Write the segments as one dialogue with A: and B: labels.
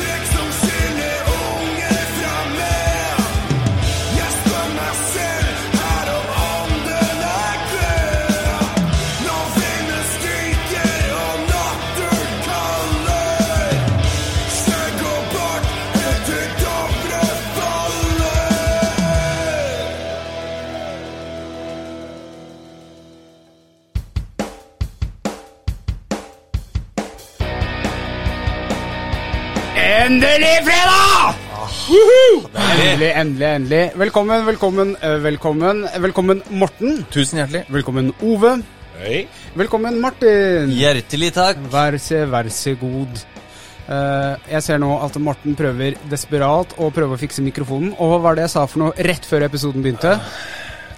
A: Trekk som skiller unge fra meg. Jeg spør meg selv her om ånden er død. Nå vinden skriker og natten kaller. Skjegg og bart etter Dovre faller.
B: Endelig fredag!
C: Endelig, endelig, endelig. Velkommen, velkommen, eh, velkommen. Velkommen Morten.
D: Tusen hjertelig.
C: Velkommen Ove. Velkommen Martin.
D: Hjertelig takk.
C: Vær så, vær så god. Eh, jeg ser nå at Morten prøver desperat å prøve å fikse mikrofonen. Og hva var det jeg sa for noe rett før episoden begynte?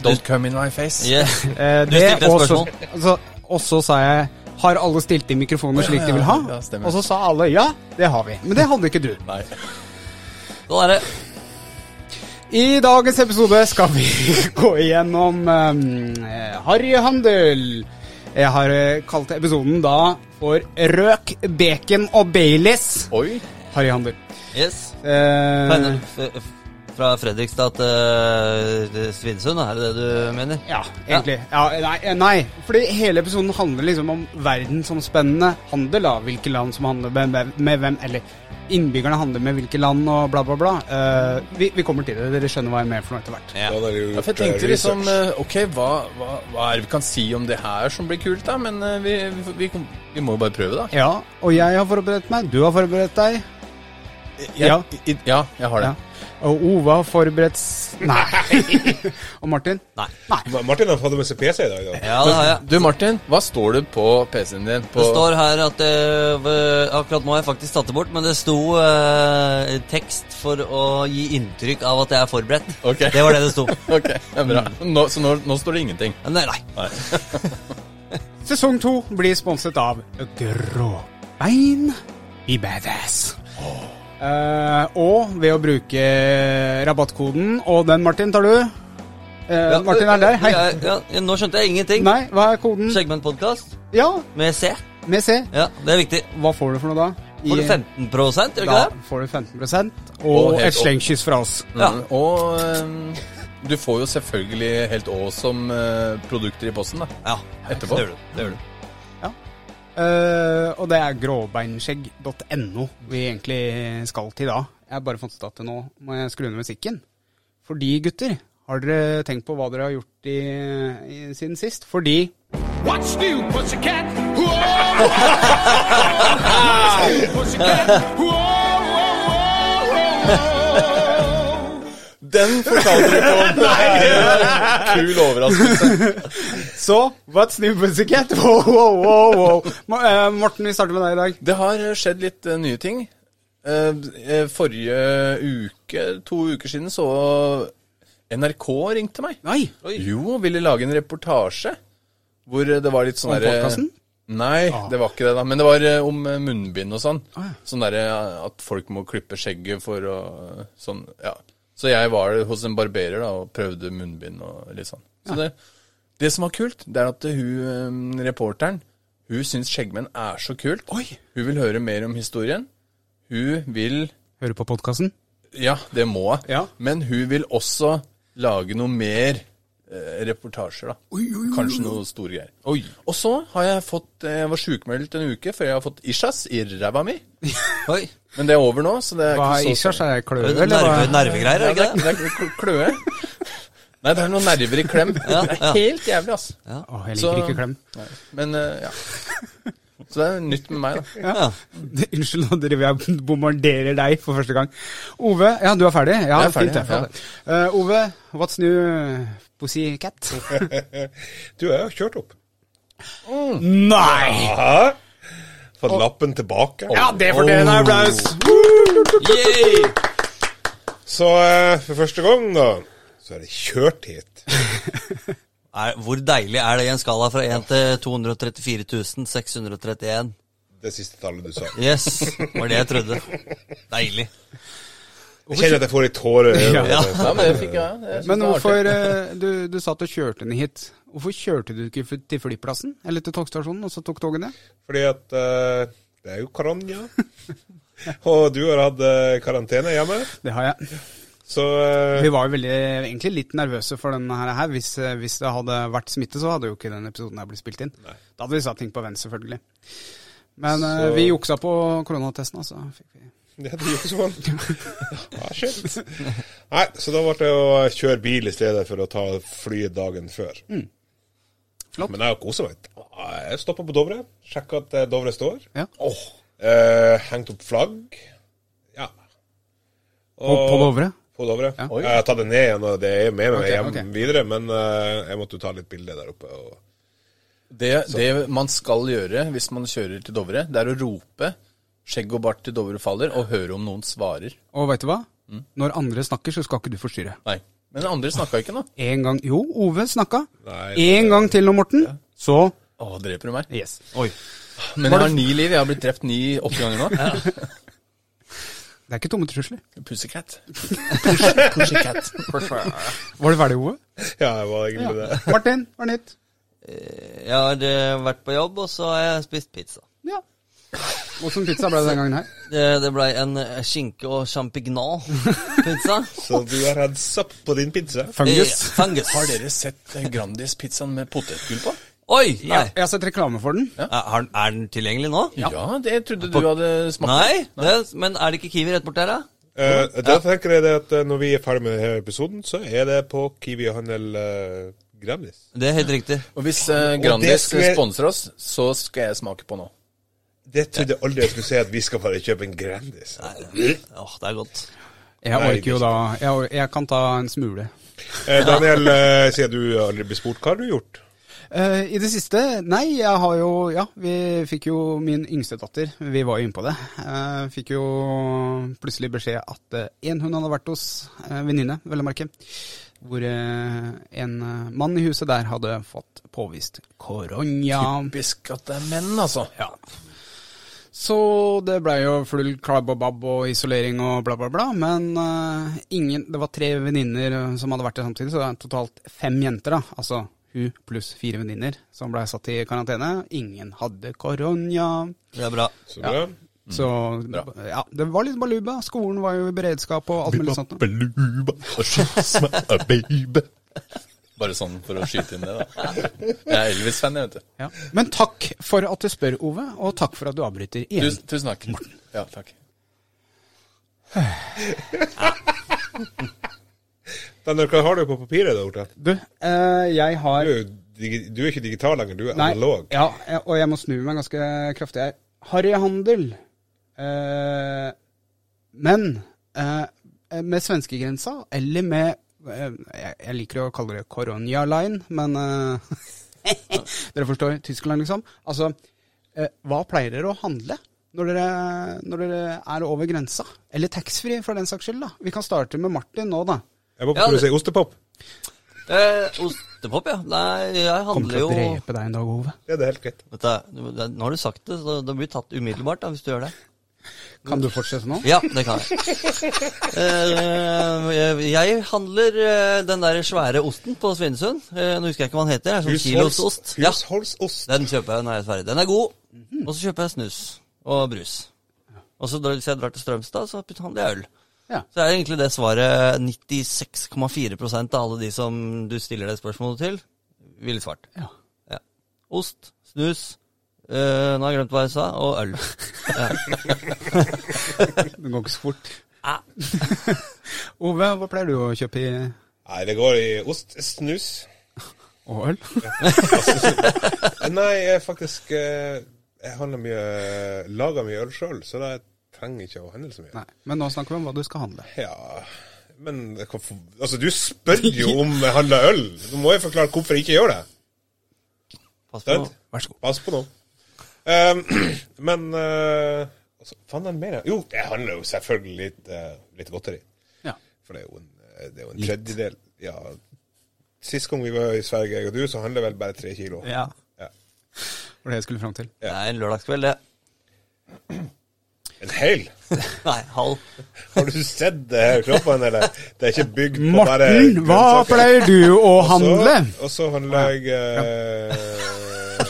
D: Don't come in my face.
E: Yeah.
C: Eh,
E: Ah. Du stilte et
C: og så-
E: spørsmål.
C: så- Og så sa jeg har alle stilt inn mikrofoner slik de vil ha?
D: Ja, stemmer.
C: Og så sa alle ja, det har vi. Men det hadde ikke du.
E: Sånn er det.
C: I dagens episode skal vi gå igjennom um, harryhandel. Jeg har eh, kalt episoden da for Røk, bacon og Baileys.
D: Oi.
C: Harryhandel.
E: Yes. Fra,
C: Eh,
E: f- fra Fredrikstad til eh, Svinesund, er det det du mener?
C: ja, egentlig. Ja, nei, eh, nei, fordi hele episoden handler liksom om verdensomspennende handel. da, Hvilke land som handler med, med, med hvem, eller innbyggerne handler med hvilke land og bla, bla, bla. Eh, vi, vi kommer til det. Dere skjønner hva jeg mener for noe etter hvert.
E: Ja.
D: Ja, for jeg tenkte liksom eh, Ok, hva, hva, hva er det vi kan si om det her som blir kult, da? Men eh, vi, vi, får- vi, kom- vi må jo bare prøve, da.
C: Ja, og jeg har forberedt meg. Du har forberedt deg. Ja.
D: Jeg, i, ja, jeg har det.
C: Ja. Og Ove har forberedt s- Nei. og Martin?
E: Nei.
F: Ma- Martin har fått med seg PC i dag. da.
E: Ja, det har jeg.
D: Du Martin, hva står det på PC-en din? På
E: Det står her at eh, v- Akkurat nå har jeg faktisk tatt det bort, men det sto eh, tekst for å gi inntrykk av at jeg er forberedt.
D: Ok.
E: Det var det det sto.
D: Ok, ja, bra. Nå, så nå, nå står det ingenting.
E: Men Nei, nei.
C: Sesong to blir sponset av Gråbein i Badass. Eh, og ved å bruke rabattkoden Og den, Martin, tar du? Eh,
E: Ja,
C: Martin er der. Hei.
E: jeg- Ja, nå skjønte jeg ingenting.
C: Nei, hva er koden?
E: Segment podcast
C: Ja,
E: med C.
C: med C.
E: Ja, det er viktig.
C: Hva får du for noe da?
E: Får du
C: I-
E: 15 gjør du ikke
C: Da
E: det?
C: får du 15 og
D: Og
C: et
D: helt opp.
C: slengkyss fra oss.
E: Ja.
D: Mm, Og eh, du får jo selvfølgelig Helt Å som eh, produkter i posten, da.
E: Ja,
D: Etterpå.
E: det gjør du. Det gjør du.
C: Eh, og det er gråbeinskjegg.no vi egentlig skal til da. Jeg bare fant ut at nå må jeg skru ned musikken. Fordi, gutter, har dere tenkt på hva dere har gjort i, i, siden sist? Fordi
A: What's new, pussycat? Whoa, whoa, whoa. Pussycat? Whoa, whoa, whoa, whoa.
D: Den fortalte du ikke om! Nei, kul overraskelse.
C: Så What's new pussycat? Wow, wow, wow, wow. Ma- eh, Morten, vi starter med deg i dag.
D: Det har eh, skjedd litt eh, nye ting. Eh, eh, Forrige uke, to uker siden, så NRK ringte meg.
C: Nei.
D: Jo, ville lage en reportasje hvor eh, det var litt sånn
C: Om
D: derre-
C: podcasten? Ah.
D: Nei, det var ikke det, da. Men det var eh, om eh, munnbind og sånn. Sånn derre eh, at folk må klippe skjegget for å Sånn, ja. Så jeg var hos en barberer da og prøvde munnbind og litt sånn. Så det, det som var kult, det er at eh, hun eh, reporteren hun syns skjeggmenn er så kult.
C: Oi.
D: Hun vil høre mer om historien. Hun vil
C: Hører på podkasten?
D: ja, det må jeg.
C: Ja.
D: Men hun vil også lage noe mer eh, reportasjer, da. Kanskje noe store greier. Og så har jeg fått eh, Jeg var sjukmeldt en uke før jeg har fått Ishas i ræva mi.
E: Oi.
D: Men det er over nå, så det er
C: Hva er
D: ikke så
C: Ishars? Er det kløe,
E: Nerve,
C: eller? hva?
E: nervegreier, er det ikke
D: Det er,
E: det?
D: det er kl- kløe. Nei, det er noen nerver i klem. Det er
E: ja.
D: helt jævlig, ass.
C: Å, jeg liker
D: Så-
C: ikke klem.
D: Nei. Men eh, ja. Så det er nytt med meg, da.
E: Ja.
C: Unnskyld, nå driver jeg og bombarderer deg for første gang. Ove, ja, du er ferdig? Ja,
D: Jeg er ferdig,
C: fint. Jeg,
D: ja.
C: Eh, Ove, what's new pussycat?
F: Du, jeg har kjørt opp.
C: Nei!
F: Aha. Fått lappen tilbake. Oh.
C: Ja, det fortjener en applaus!
D: Oh.
E: Yay!
F: Så eh, for første gang, da, så er det kjørt hit.
E: Er, hvor deilig er det i en skala fra 1 til 234 631?
F: Det siste tallet du sa.
E: Yes, var det jeg trodde. Deilig.
F: Jeg kjenner at jeg får litt tårer. i altså. øynene.
D: Nei, men det fikk jeg. jeg synes
C: Men
D: det var
C: hvorfor
D: artig.
C: eh, du, du satt og kjørte ned hit. Hvorfor kjørte du ikke f- til flyplassen eller til togstasjonen, og så tok toget ned?
F: Fordi at eh, det er jo korona. Og du har hatt eh, karantene hjemme.
C: Det har jeg.
F: Så eh,
C: Vi var jo veldig, egentlig litt nervøse for denne her. her. Hvis, eh, hvis det hadde vært smitte, så hadde jo ikke den episoden her blitt spilt inn. Da hadde vi satt ting på vent, selvfølgelig. Men eh,
F: Så-
C: vi juksa på koronatesten, altså. Fikk vi.
F: ja, du gjorde sånn. Ja, shit. Nei, så da ble det å kjøre bil i stedet for å ta fly dagen før.
C: Mm. Flott.
F: Men jeg har kosa meg. Jeg stoppa på Dovre, sjekka at eh, Dovre står.
C: Ja.
F: Eh, hengt opp flagg. Ja.
C: På, på Dovre?
F: På Dovre.
C: Ja.
F: Jeg har tatt det ned igjen, og det er med meg
C: Ok,
F: hjem
C: ok.
F: videre, men eh, jeg måtte jo ta litt bilder der oppe. Og
D: Det, det man skal gjøre hvis man kjører til Dovre, det er å rope 'skjegg og bart til Dovre faller' og høre om noen svarer.
C: Og veit du hva?
F: Mm.
C: Når andre snakker, så skal ikke du forstyrre.
D: Nei. Men andre snakka ikke nå.
C: En gang Jo, Ove snakka.
F: Nei,
C: En gang til nå, Morten. Så
D: Å, dreper du meg?
C: Yes. Oi.
D: Men jeg har ni liv. Jeg har blitt drept ni åtte ganger nå.
C: Det er ikke tomme trusler.
D: Pussycat.
C: Var det ferdig, Ove?
F: Ja, det var egentlig det.
C: Martin, hva er nytt?
E: Jeg har eh, vært på jobb, og så har jeg spist pizza.
C: Ja. Åssen pizza ble det den gangen her?
E: Det, det blei en eh, skinke- og champignon-pizza.
F: Så du har hatt sopp på din pizza?
C: Fungus.
E: Eh, Fungus.
D: Har dere sett eh, Grandis-pizzaen med potetgull på?
E: Oi! Nei.
C: Jeg har sett reklame for den.
E: Er, er den- er den tilgjengelig nå?
D: Ja, det trodde du hadde smakt.
E: Nei, det, men er det ikke Kiwi rett bort der, da?
F: Eh, da tenker jeg det at eh, når vi er ferdig med denne episoden, så er det på Kiwi Handel eh, Grandis.
E: Det er helt riktig.
D: Og hvis eh,
F: Og det
D: Grandis
F: skulle jeg-
D: sponser oss, så skal jeg smake på nå.
F: Det trodde jeg aldri jeg skulle si, at vi skal bare kjøpe en Grandis.
E: Åh, det er godt.
C: Jeg
F: Nei,
C: orker jo da jeg, or- jeg kan ta en smule.
F: Eh, Daniel, eh, sier du aldri blir spurt hva har du gjort?
C: Eh, I det siste Nei, jeg har jo Ja, vi fikk jo min yngste datter. Vi var jo inne på det. Eh, fikk jo plutselig beskjed at eh, en hund hadde vært hos uh, venninne, vel å merke. Hvor eh, en eh, mann i huset der hadde fått påvist korona.
D: Bisk at det er menn, altså. Ja.
C: Så det ble jo full klabb og babb og isolering og bla, bla, bla. Men eh, ingen, det var tre venninner eh, som hadde vært der samtidig, så det er totalt fem jenter. da, Altså hun pluss fire venninner som ble satt i karantene. Ingen hadde korona.
E: Det er bra.
F: Så bra.
C: Så ja, det var litt baluba. Skolen var jo i beredskap og alt mulig sånt.
D: Baluba, og skyts meg, a baby. Bare sånn for å skyte inn det, da. Jeg er Elvis-fan, jeg, vet du.
C: Ja. Men takk for at du spør, Ove, og takk for at du avbryter igjen.
D: Tusen, tusen takk. Ja, takk.
F: Daniel, hva har du på papiret der borte?
C: Du, eh, jeg
F: Du,
C: har
F: er jo digi- du er ikke digital lenger, du er
C: Nei,
F: analog.
C: Ja, jeg- og jeg må snu meg ganske kraftig her. Harry Handel. Eh, men eh, med svenskegrensa, eller med eh, jeg, jeg liker å kalle det Coronia Line, men eh, Dere forstår Tyskland, liksom. Altså, eh, hva pleier dere å handle når dere, når dere er over grensa? Eller taxfree, for den saks skyld. da. Vi kan starte med Martin nå, da.
F: Jeg må
E: Ja,
F: prøve å
E: det-
F: si ostepop.
E: Eh, ostepop, ja. Nei, jeg
C: Kommer
E: handler
C: til
E: jo
C: å drepe deg en dag, Ove.
F: Ja, det er helt greit.
E: Vet du, det- Nå har du sagt det, så det blir tatt umiddelbart da, hvis du gjør det.
C: Kan du fortsette nå?
E: Ja, det kan jeg. Eh, jeg handler eh, den der svære osten på Svinesund. Eh, nå husker jeg ikke hva den heter. Det er sånn kilosost. Ja,
F: Husholdsost.
E: den kjøper jeg når jeg er ferdig. Den er god.
C: Mhm.
E: Og så kjøper jeg snus og brus. Og så drar- hvis jeg drar til Strømstad, så handler jeg øl.
C: Ja.
E: Så er egentlig det svaret 96,4 av alle de som du stiller det spørsmålet til, ville svart.
C: Ja.
E: Ja. Ost, snus, eh, nå har jeg glemt hva jeg sa, og øl.
C: Det går ikke så fort.
E: Ah.
C: Ove, hva pleier du å kjøpe i
F: Nei, det går i ost, snus.
C: Og øl?
F: Eh, Nei, jeg faktisk eh, Jeg handler mye lager mye øl sjøl, så da trenger jeg ikke å handle så mye.
C: Nei, men nå snakker vi om hva du skal handle.
F: Ja, men jeg kan få- Altså, du spør jo om jeg handler øl! Nå må jeg forklare hvorfor jeg ikke gjør det.
E: Pass på.
F: Sant?
E: nå.
C: Vær så god.
F: Pass på nå. Ehm, men eh, altså, Faen, er det mer? Jo, jeg handler jo selvfølgelig litt, eh, litt godteri.
C: Ja.
F: For det er jo en, eh, det er jo en tredjedel Ja. Sist gang vi var i Sverige, jeg og du, så handla vel bare tre kilo.
C: ja.
F: Ja.
C: Var det jeg skulle fram til.
E: Det er en lørdagskveld, det.
F: En hel?
E: Nei, halv.
F: Har du sett det her kroppen, eller? Det er ikke bygd på bare
C: Morten, hva
F: grønnsaker.
C: pleier du å
F: Og så-
C: handle?
F: Og så handler jeg eh,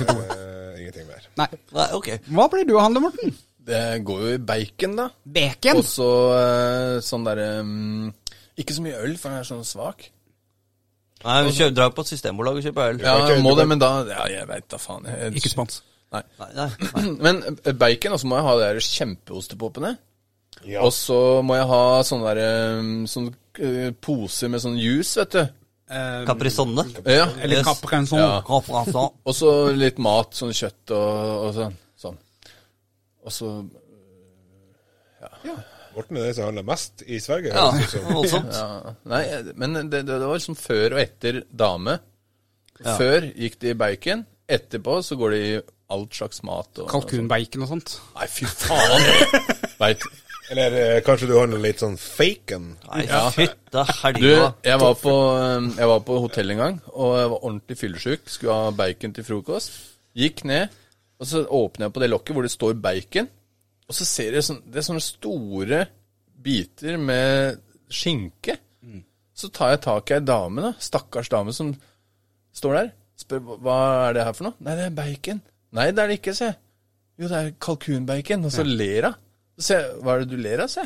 F: ingenting mer.
C: Nei.
E: Nei, ok.
C: Hva pleier du å handle, Morten?
D: Det går jo i bacon, da.
C: Bacon.
D: Og så eh, sånn derre mm, Ikke så mye øl, for den er sånn svak.
E: Nei, vi kjører drag på et systembolag og kjøper øl.
D: Ja,
F: kan ikke-
D: må
F: du
D: det,
F: kan-
D: men da Ja, jeg veit da faen. Jeg,
C: Ikke spons.
D: Nei.
E: Nei, nei, nei.
D: Men eh, bacon, og så må jeg ha de der kjempeostepopene.
F: Ja.
D: Og så må jeg ha sånne der, um, sånne eh, poser med sånn juice, vet du.
E: Caprisonne.
D: Ja.
C: Eller
E: Yes.
C: caprenson.
D: Ja.
E: Caprisonne.
D: Og så litt mat, sånn kjøtt og, og sånn. sånn. Og så
F: Morten er den som handler mest i Sverige.
E: Ja,
F: høres det ut som.
E: voldsomt.
D: ja. Ah, Nei, men det, det, det var liksom før og etter dame. Før gikk det i bacon. Etterpå så går det i all slags mat. Og,
C: Kalkunbacon og sånt.
D: Nei, fy faen! Veit
F: Eller eh, kanskje du handler litt sånn faken?
E: Nei, fytte
D: Du,
E: helga.
D: jeg var, på, eh, jeg var på hotell en gang, og jeg var ordentlig fyllesyk. Skulle ha bacon til frokost. Gikk ned, og så åpner jeg på det lokket hvor det står bacon. Og så ser jeg sånn, det er sånne store biter med skinke. Så tar jeg tak i ei dame, da, stakkars dame som står der. Spør "Hva- hva er det her for noe. Nei, det er bacon. Nei, det er det ikke, se. Jo, det er kalkunbacon. Og så ler hun. Så sier jeg, hva er det du ler av, se?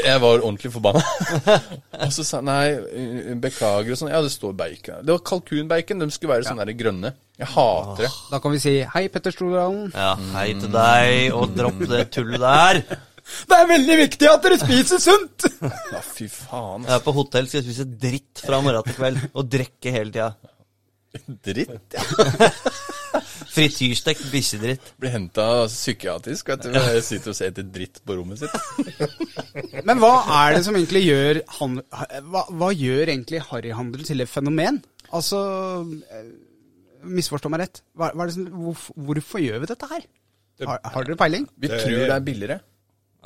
D: Jeg var ordentlig forbanna. Og så sa han nei, beklager og sånn. Ja, det står bacon her. Det var kalkunbacon. De skulle være sånne der grønne. Jeg hater det.
C: Da kan vi si hei, Petter Stordalen.
E: Ja, hei til deg, og dropp det tullet der.
C: Det er veldig viktig at dere spiser sunt!
D: Ja, fy faen.
E: Jeg er på hotell, skal jeg spise dritt fra morgen til kveld, og drikke hele tida.
D: Dritt. Jeg
E: Frityrstekt bikkjedritt.
D: blir henta psykiatrisk, vet du. når Jeg sitter og ser etter dritt på rommet sitt.
C: Men hva er det som egentlig gjør han, hva, hva gjør egentlig harryhandel til et fenomen? Altså eh, Misforstå meg rett. Hva, hva er det som, hvorf- hvorfor gjør vi dette her? Har, har dere peiling?
D: Vi tror det er billigere.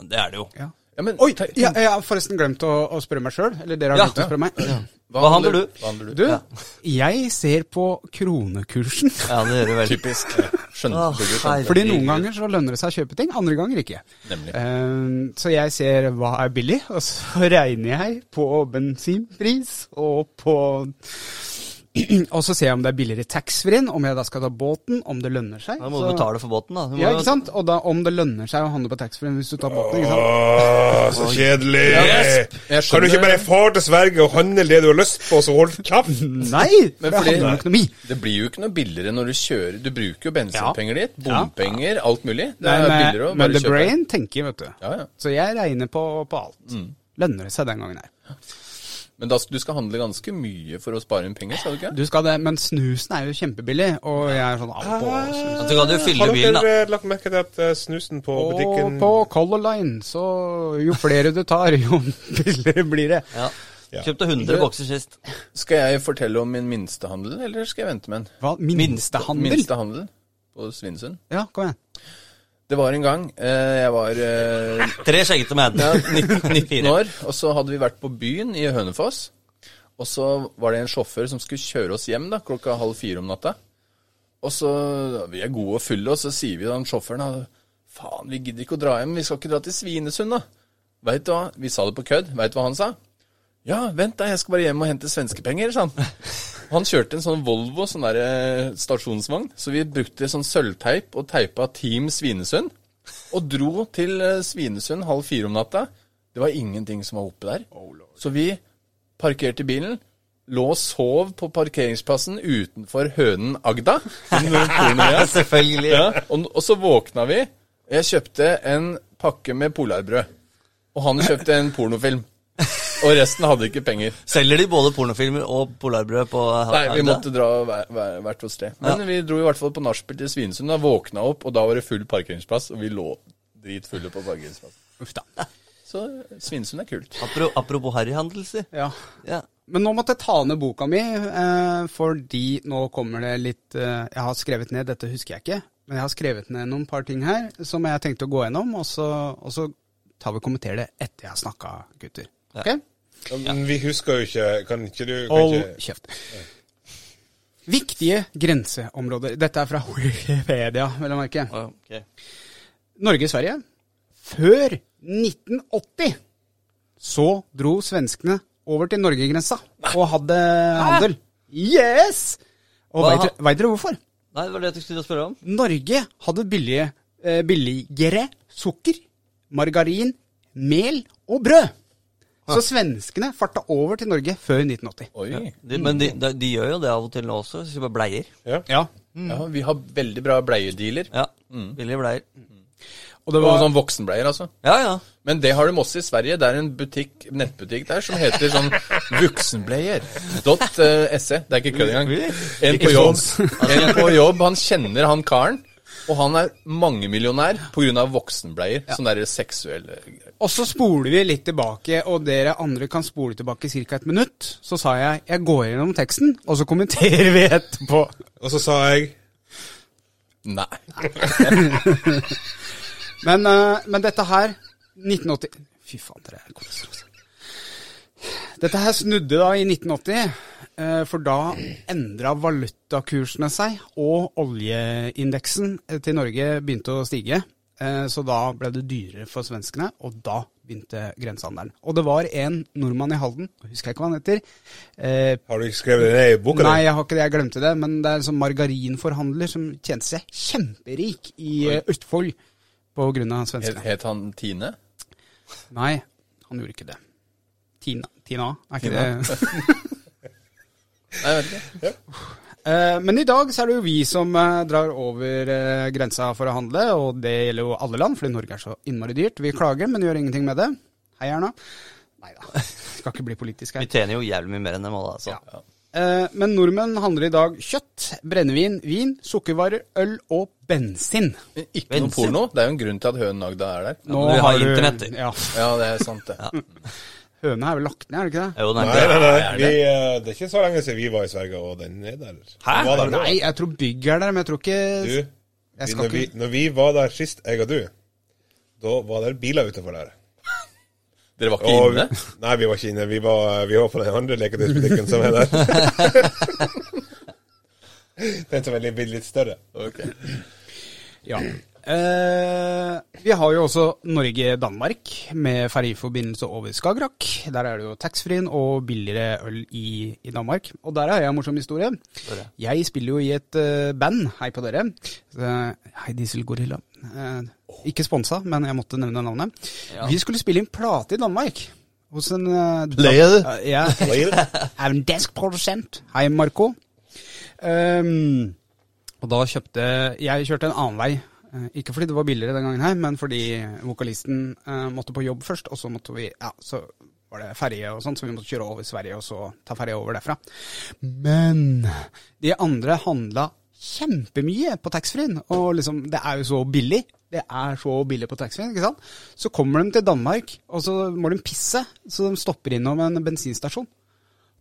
E: Ja, Det er det jo.
C: Ja.
D: Ja, men,
C: Oi!
D: te-
C: Jeg ja, jeg har forresten glemt å, å spørre meg sjøl. Eller dere har
E: Ja.
C: glemt å spørre meg.
D: Hva
E: Hva handler du?
D: Hva handler du?
C: Du, jeg ser på kronekursen.
E: Ja, det gjør det vel.
D: Typisk.
E: Åh,
D: Skjønte du ikke?
E: herregud.
C: Fordi noen ganger så lønner det seg å kjøpe ting, andre ganger ikke.
D: Nemlig.
C: Eh, så jeg ser hva er billig, og så regner jeg på bensinpris og på Og så ser jeg om det er billigere taxfree-en, om jeg da skal ta båten, om det lønner seg.
E: Da må du
C: Så-
E: betale for båten, da. Du må,
C: Ja, ikke sant? Og da om det lønner seg å handle på taxfree-en hvis du tar båten, ikke sant.
F: Åh, så kjedelig!
D: yes. Jeg
F: Kan du ikke
D: skjønner-
F: bare fare til Sverige og handle det du har lyst på, og så holde kjeft?
C: Nei!
D: Men
C: det
D: fordi-
C: handler om økonomi.
D: Det blir jo ikke noe billigere når du kjører. Du bruker jo bensinpenger ditt,
C: Ja.
D: bompenger, alt mulig. Det er
C: Nei, men, eh,
D: billigere å
C: men
D: bare
C: the
D: kjøpe.
C: brain tenker, vet du.
D: Ja, Mm. ja.
C: Så jeg regner på, på alt. Lønner det seg den gangen her.
D: Men da, du skal handle ganske mye for å spare inn penger, skal du ikke?
C: Du skal det, men snusen er jo kjempebillig, og jeg er sånn av
D: Ah,
C: på snus.
E: Ja, Du kan jo fylle
F: Har
E: bilen, da.
F: dere eh, lagt merke til at eh, snusen på
C: Og
F: butikken
C: på Color Line, så jo flere du tar, jo billigere blir det.
E: Ja.
F: Ja.
E: Kjøpte 100 bokser sist.
D: Skal jeg fortelle om min minstehandel, eller skal jeg vente med den?
C: Hva? Minstehandel?
D: Minstehandel på Svinesund.
C: Ja, kom igjen.
D: Det var en gang eh, jeg var eh,
E: Tre skjeggete menn.
D: 19
E: 94.
D: år, og så hadde vi vært på byen i Hønefoss. Og så var det en sjåfør som skulle kjøre oss hjem da, klokka halv fire om natta. Og så, Vi er gode og fulle, og så sier vi til han sjåføren da, Faen, vi gidder ikke å dra hjem. Vi skal ikke dra til Svinesund, da. Vet du hva? Vi sa det på kødd. Veit du hva han sa? Ja, vent da, jeg skal bare hjem og hente svenskepenger, sa han. Og Han kjørte en sånn Volvo, sånn der eh, stasjonsvogn. Så vi brukte sånn sølvteip og teipa Team Svinesund. Og dro til eh, Svinesund halv fire om natta. Det var ingenting som var oppe der. Så vi parkerte bilen, lå og sov på parkeringsplassen utenfor hønen Agda.
E: Selvfølgelig.
D: Ja, og, og så våkna vi. Jeg kjøpte en pakke med polarbrød. Og han kjøpte en pornofilm. Og resten hadde ikke penger.
E: Selger de både pornofilmer og polarbrød på
D: Nei, vi måtte dra hver- hver- hvert vårt sted. Men
E: Ja.
D: vi dro i hvert fall på nachspiel til Svinesund. Da våkna opp, og da var det full parkeringsplass, og vi lå dritfulle på parkeringsplassen.
C: Uff da.
D: Så eh, Svinesund er kult.
E: Apro- Apropos harryhandel, si.
C: Ja.
E: Ja.
C: Men nå måtte jeg ta ned boka mi, eh, fordi nå kommer det litt eh, Jeg har skrevet ned, dette husker jeg ikke, men jeg har skrevet ned noen par ting her som jeg tenkte å gå gjennom, og så, og så tar vi og kommenterer det etter jeg har snakka, gutter. Ok?
F: Ja, men Vi husker jo ikke Kan ikke du kan
C: Hold
F: ikke,
C: kjeft. Viktige grenseområder. Dette er fra Wikipedia, vel å merke.
E: Ok.
C: Norge-Sverige. før 1980 så dro svenskene over til Norgegrensa og hadde handel. Yes! Og
E: Hva-
C: veit dere- veit dere hvorfor?
E: Nei, det var det jeg skulle spørre om.
C: Norge hadde billige, eh, billigere sukker, margarin, mel og brød. Så svenskene farta over til Norge før 1980.
D: Oi.
E: De, men de, de, de gjør jo det av og til nå også. Hvis de bare bleier.
C: Ja.
D: Mm. Ja, vi har veldig bra bleiedealer.
E: Ja, Billige bleier.
C: Og det
D: Og
C: var
D: sånn voksenbleier, altså.
E: Ja, ja.
D: Men det har de også i Sverige. Det er en butikk, nettbutikk der som heter sånn vuksenbleier.se. E. Det er ikke kødd engang. En på jobb. En på jobb, han kjenner han karen. Og han er mangemillionær pga. voksenbleier. Sånne der eh, seksuelle greier.
C: Og så spoler vi litt tilbake, og dere andre kan spole tilbake ca. et minutt. Så sa jeg jeg går gjennom teksten, og så kommenterer vi etterpå.
F: Og så sa jeg
D: Nei.
C: Men, eh, men dette her 1980 Fy faen, dere er koser oss. Dette her snudde da i 1980, eh, for da endra valutakursene seg, og oljeindeksen eh, til Norge begynte å stige. Eh, Så da ble det dyrere for svenskene, og da begynte grensehandelen. Og det var en nordmann i Halden, husker jeg ikke hva han heter, eh,
F: Har du ikke skrevet det ned i boka?
C: Nei,
F: di?
C: jeg har ikke det. Jeg glemte det. Men det er en sånn margarinforhandler som tjente seg kjemperik i eh, Østfold på grunn av
D: Het,
C: svenskene.
D: het han Tine?
C: Nei, han gjorde ikke det. Tina, Tina er ikke det.
D: Nei, jeg vet ikke.
C: Eh, Men i dag så er det jo vi som eh, drar over eh, grensa for å handle, og det gjelder jo alle land, fordi Norge er så innmari dyrt. Vi klager, men gjør ingenting med det. Hei, Erna. Nei da, skal ikke bli politisk her.
E: Vi tjener jo jævlig mye mer enn dem alle, altså.
C: Ja. Eh, Men nordmenn handler i dag kjøtt, brennevin, vin, sukkervarer, øl og bensin.
D: Men Ikke noe
E: Bensin.
D: porno. Det er jo en grunn til at høna Agda er der.
E: men vi har internett, du.
C: Ja.
D: Ja, det er sant, det.
C: Høna er vel lagt ned, er det ikke det?
E: Jo, nei,
F: Nei, nei, nei. Vi, eh, det er ikke så lenge siden vi var i Sverige, og den er der.
E: Hæ?
F: Den var der nå.
C: Nei, jeg tror bygg er der, men jeg tror ikke
F: Du, vi,
C: skal
F: når, vi,
C: ikke-
F: når vi var der sist, jeg og du, da var det biler utenfor der.
D: Dere var ikke
F: Og,
D: inne?
F: nei, vi var ikke inne. Vi var, vi var på den andre leketøysbutikken som er der. den som er litt, litt større.
D: Ok.
C: Ja. Eh, vi har jo også Norge-Danmark med ferjeforbindelse over Skagerrak. Der er det jo taxfree-en og billigere øl i, i Danmark. Og der har jeg en morsom historie. Jeg spiller jo i et eh, band. Hei på dere. Eh, hei, Dieselgorilla. Uh, ikke sponsa, men jeg måtte nevne navnet. Vi skulle spille inn plate i Danmark. Hos en uh,
E: Player.
C: ja,
F: Player.
C: er en dansk produsent. Hei, Marco. Ehm, og da kjøpte Jeg kjørte en annen vei. Eh, Ikke fordi det var billigere den gangen her, men fordi vokalisten eh, måtte på jobb først, og så måtte vi Ja, så var det ferje og sånt, så vi måtte kjøre over Sverige og så ta ferje over derfra. Men de andre handla kjempemye på taxfree-en, og liksom Det er jo så billig. Det er så billig på taxfree-en, ikke sant. Så kommer de til Danmark, og så må de pisse, så de stopper innom en bensinstasjon.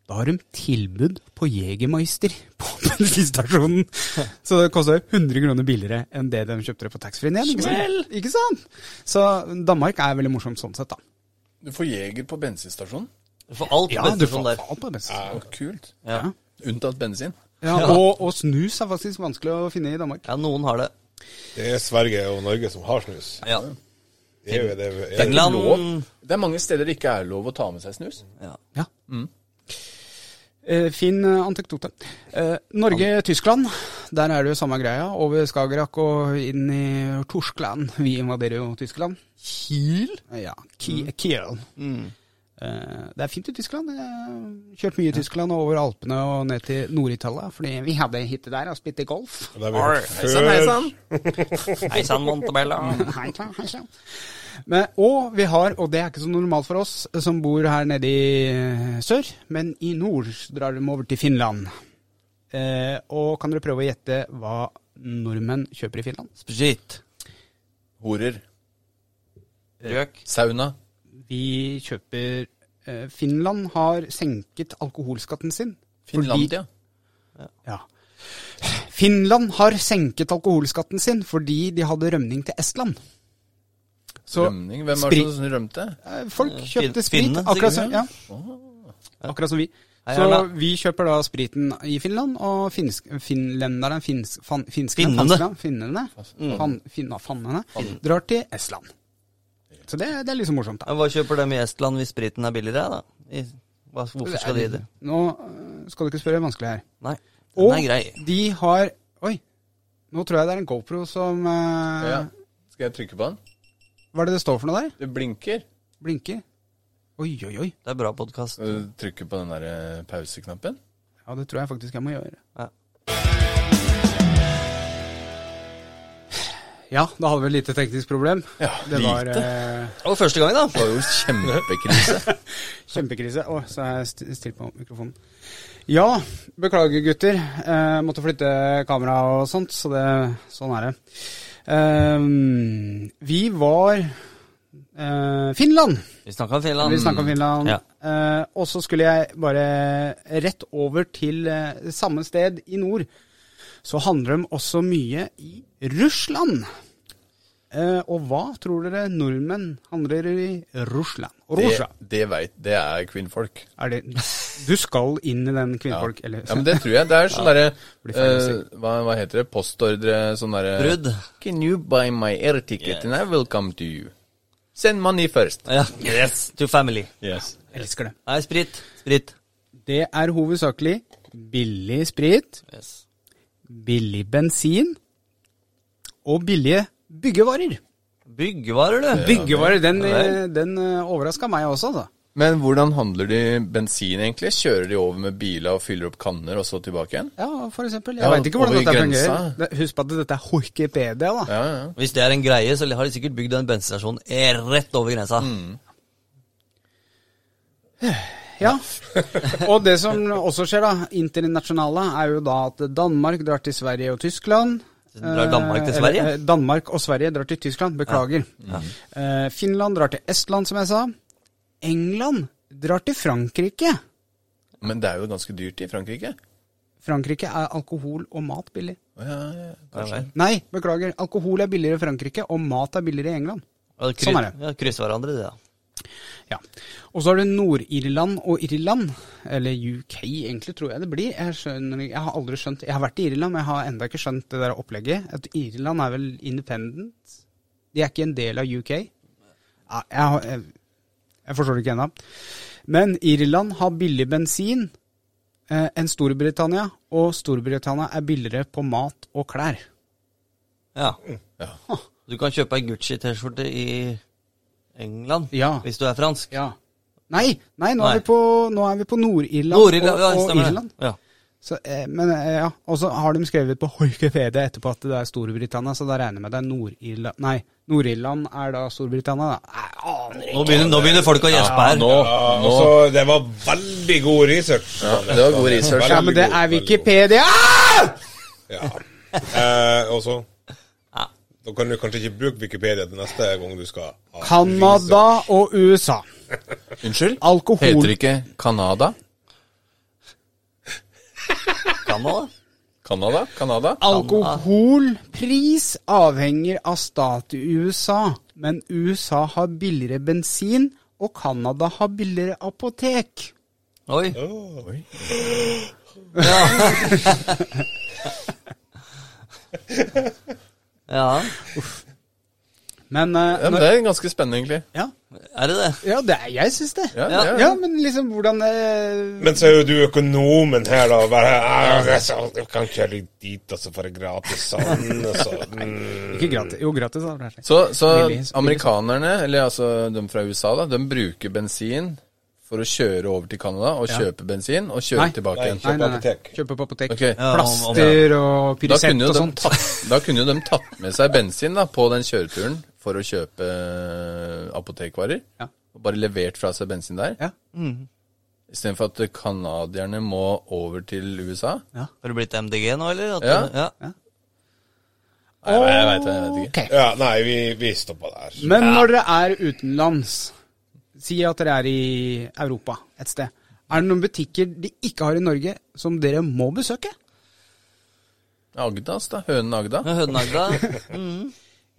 C: Da har de tilbud på Jegermeister på bensinstasjonen. Så det koster 100 kroner billigere enn det de kjøpte det på taxfree-en igjen. Ikke sant? ikke sant? Så Danmark er veldig morsomt sånn sett, da.
D: Du får jeger på bensinstasjonen.
E: For alt ja,
C: du
E: beste sånn
C: får
E: der.
C: alt på bensin.
D: Så Kult.
E: Ja.
D: Unntatt bensin.
C: Ja, og, og snus er faktisk vanskelig å finne i Danmark.
E: ja, noen har det.
F: Det er Sverige og Norge som har snus.
E: Ja.
F: Det er jo det. er-
D: Det er ikke
E: Finland.
D: lov. Det er mange steder det ikke er lov å ta med seg snus.
E: Ja.
C: Ja. Eh, fin eh, anekdote. Eh, Norge-Tyskland, der er det jo samme greia. Over Skagerrak og inn i Torskland. Vi invaderer jo Tyskland. Kiel? Ja, Ki Kiel. Eh, det er fint i Tyskland. Jeg har Kjørt mye i Tyskland og over Alpene og ned til Nord-Italia, fordi vi hadde hytte der og spilte golf.
F: Det har vi hørt
D: Heisan,
F: før.
D: heisan.
E: Hei sann, Montebella.
C: Hei, klar, hei, klar. Men, og vi har, og det er ikke så normalt for oss som bor her nede i eh, sør, men i nord så drar de over til Finland. Eh, og kan dere prøve å gjette hva nordmenn kjøper i Finland?
E: Sprit.
D: Horer.
E: Røk.
D: Sauna.
C: Vi kjøper eh, Finland har senket alkoholskatten sin. fordi-
D: Finlandia.
C: Ja. Finland har senket alkoholskatten sin fordi de hadde rømning til Estland. Så
D: Rømning. Hvem var det
C: sprit-
D: som rømte?
C: Eh, Folk
E: Fin-
C: kjøpte sprit,
E: finnene,
C: akkurat som,
E: sikkert.
C: ja. akkurat som vi.
E: Hei,
C: Så
E: Erna.
C: vi kjøper da spriten i Finland, og finsk, finlenderne, finsk, fan, finskene,
E: Finnene. Mm.
C: fanskene, finnene, fan, finna, fannene, drar til Estland. Så det, det er liksom morsomt. da.
E: Ja, Hva kjøper dem i Estland hvis spriten er billigere, da? I, hva, hvorfor skal de det?
C: Nå øh, skal du ikke spørre vanskelig her.
E: Nei, den
C: Og
E: er grei.
C: de har Oi, nå tror jeg det er en GoPro som øh,
D: Ja. Skal jeg trykke på den?
C: Hva er det det står for noe der?
D: Det blinker.
C: Blinker? Oi, oi, oi.
E: Det er bra podkast.
D: Skal du trykke på den der eh, pauseknappen?
C: Ja, det tror jeg faktisk jeg må gjøre.
E: Ja.
C: Ja, da hadde vi et lite teknisk problem.
D: Ja,
C: det var
D: lite.
C: eh,
E: Og første gang, da.
D: Det var jo kjempekrise.
C: kjempekrise. Å, så har jeg st- stilt på mikrofonen. Ja, beklager gutter. Eh, måtte flytte kamera og sånt, så det, sånn er det. Ehm, vi var eh, Finland!
E: Vi snakka om Finland.
C: Vi snakka om Finland.
E: Ja.
C: Eh, og så skulle jeg bare rett over til eh, samme sted i nord. Så handler de også mye i Russland. Eh, og hva tror dere nordmenn handler i Russland?
D: Det,
C: Russia.
D: det veit Det er kvinnfolk.
C: Er det, du skal inn i den kvinnfolk... Eller,
D: Ja, men det tror jeg. Det er sånn derre
C: Blir feil å
D: eh, hva, hva heter det? Postordre? Sånn derre
E: Brudd.
D: Can you buy my air ticket and I will come to you? Send money first.
E: Ja. Yes, to family.
D: Yes.
C: jeg elsker det.
E: Nei, sprit. Sprit.
C: Det er hovedsakelig billig sprit,
E: Yes.
C: billig bensin og billige byggevarer.
E: Byggevarer, du.
C: Byggevarer, den,
E: Ja, vel.
C: eh, den overraska meg også, da.
D: Men hvordan handler de bensin, egentlig? Kjører de over med biler og fyller opp kanner, og så tilbake igjen?
C: Ja, for eksempel. Jeg
D: Ja,
C: vet ikke hvordan
D: over
C: dette
D: grensa.
C: fungerer. Det- Husk på at dette er Wikipedia, da.
D: Ja, ja.
E: Hvis det er en greie, så har de sikkert bygd en bensinstasjon eh, rett over grensa.
C: Mm, Ja. Og det som også skjer, da, internasjonale, er jo da at Danmark drar til Sverige og Tyskland.
E: Så drar Danmark til
C: Eh,
E: Sverige?
C: eller, eh, Danmark og Sverige drar til Tyskland, beklager. Eh, Finland drar til Estland, som jeg sa. England drar til Frankrike.
D: Men det er jo ganske dyrt i Frankrike.
C: Frankrike er alkohol og mat billig.
D: Å, Ja, ja.
E: Ja, vel.
C: Nei, beklager. Alkohol er billigere i Frankrike, og mat er billigere i England.
E: Og kryss,
C: Sånn er det.
E: Ja, kryss hverandre, det, da.
C: Ja. Og så har du Nord-Irland og Irland, eller UK egentlig, tror jeg det blir. Jeg, skjønner, jeg har aldri skjønt Jeg har vært i Irland, men jeg har enda ikke skjønt det der opplegget. At Irland er vel independent? De er ikke en del av UK? Ja, jeg, har- jeg, jeg forstår det ikke ennå. Men Irland har billig bensin eh, enn Storbritannia, og Storbritannia er billigere på mat og klær.
E: Ja.
C: Mm.
E: Du kan kjøpe ei Gucci-T-skjorte i England
C: Ja.
E: hvis du er fransk.
C: Ja. Nei, nei, nå,
E: Nei.
C: Er vi på, nå er vi på Nord-Irland og,
E: Nord-Irland, ja,
C: og
E: stemmer det.
C: Irland.
E: Ja.
C: Så, eh, men eh, ja, Og så har de skrevet på Wikipedia etterpå at det er Storbritannia, så da regner jeg med det er Nord-Irland Nei, Nord-Irland er da Storbritannia, da. Jeg aner ikke.
E: Nå, begynner, nå begynner folk å gjespe her.
D: Nå,
F: Ja,
D: nå.
F: altså, det var veldig god research.
D: Det var god research.
C: Ja, men det er Wikipedia!
F: Ja. Eh, og så
E: Ja.
F: Da kan du kanskje ikke bruke Wikipedia til neste gang du skal ha
C: Canada
F: research.
C: og USA.
D: Unnskyld?
C: Alkohol.
D: Heter det ikke Canada?
E: Kan nå, da.
D: Canada? Canada?
C: Alkoholpris avhenger av stat i USA, men USA har billigere bensin, og Canada har billigere apotek.
E: Oi.
D: Oi.
E: Ja.
C: Men eh,
D: Ja, men
C: når,
D: det er ganske spennende, egentlig.
C: ja,
E: Er det det?
C: ja det er, jeg syns det.
D: Ja,
E: Ja.
D: det er-
C: Ja, men liksom hvordan eh,
F: Men så er jo du økonomen her, da. og Bare, «Ah, jeg sa- jeg kan kjøre dit, og så får jeg gratis sånn. Og så, mm.
C: Ikke gratis. Jo, gratis. hadde vært det.
D: Så, så
C: Billig- billig-
D: amerikanerne, eller altså de fra USA, da, de bruker bensin for å kjøre over til Canada og kjøpe bensin og kjøre
C: Nei.
D: tilbake igjen.
F: Kjøpe apotek.
C: Kjøpe på apotek.
D: Ok. Ja,
E: om- om-
C: Plaster og
D: Da kunne,
C: Pyrisett
D: jo
C: og
D: de
C: sånt.
D: tatt, da kunne jo de tatt med seg bensin da, på den kjøreturen for å kjøpe eh, apotekvarer.
C: Ja.
D: Og bare levert fra seg bensin der.
C: Ja.
D: Istedenfor at canadierne må over til USA.
E: Har du blitt MDG nå, eller? At,
D: Ja.
E: ja.
D: Nei, jeg, jeg, vet, jeg vet ikke.
C: Ok.
F: Ja, nei, vi, vi stoppa der.
C: Men når dere er utenlands, si at dere er i Europa et sted, er det noen butikker de ikke har i Norge som dere må besøke?
D: Agdas, da. Hønen Agda.
E: Ja, Hønagda.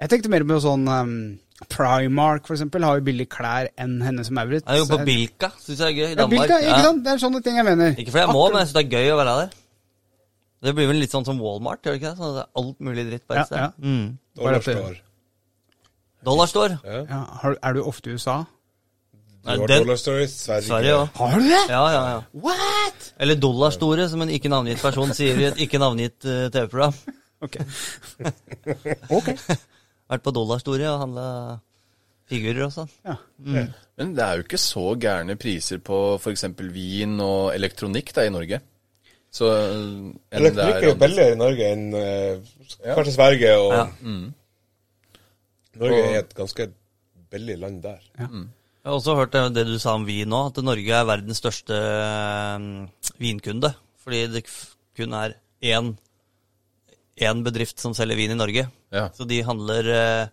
C: Jeg tenkte mer på sånn um, Primark for eksempel, har jo billige klær enn henne som Maurits. Eh,
E: Jeg er jo på Bilka, syns jeg er gøy. I
C: Ja,
E: Danmark.
C: Bilka, ikke
E: Ja.
C: sant? Det er sånne ting jeg mener.
E: Ikke fordi jeg må, men jeg syns det er gøy å være der. Det blir vel litt sånn som Walmart, gjør det ikke det? Sånn at det er alt mulig dritt på
C: Ja,
E: ett sted.
C: ja.
E: Mm.
C: Bare at
F: Dollarstore.
E: Dollar står.
C: Ja, har, er du ofte i USA?
F: Du har
E: den-
F: Dollar Stories, Sverige.
E: Sverige òg.
C: Har du det?
E: Ja, ja, ja. What? Eller Dollarstore, som en ikke navngitt person sier i et ikke navngitt eh, TV-program.
C: Ok.
E: Vært på Dollarstore og handla figurer og sånn.
C: Ja.
D: Men det er jo ikke så gærne priser på f.eks. vin og elektronikk da, i Norge. Så eh, enn det
F: Elektronikk er jo
D: andre-
F: billigere i Norge enn eh, kanskje Sverige. Og
E: Ja.
F: Norge
D: Og-
F: er et ganske billig land der.
E: Jeg har også hørt det- det du sa om vin nå, at Norge er verdens største eh, vinkunde. Fordi det f- kun er én, én bedrift som selger vin i Norge.
D: Ja.
E: Så de handler eh,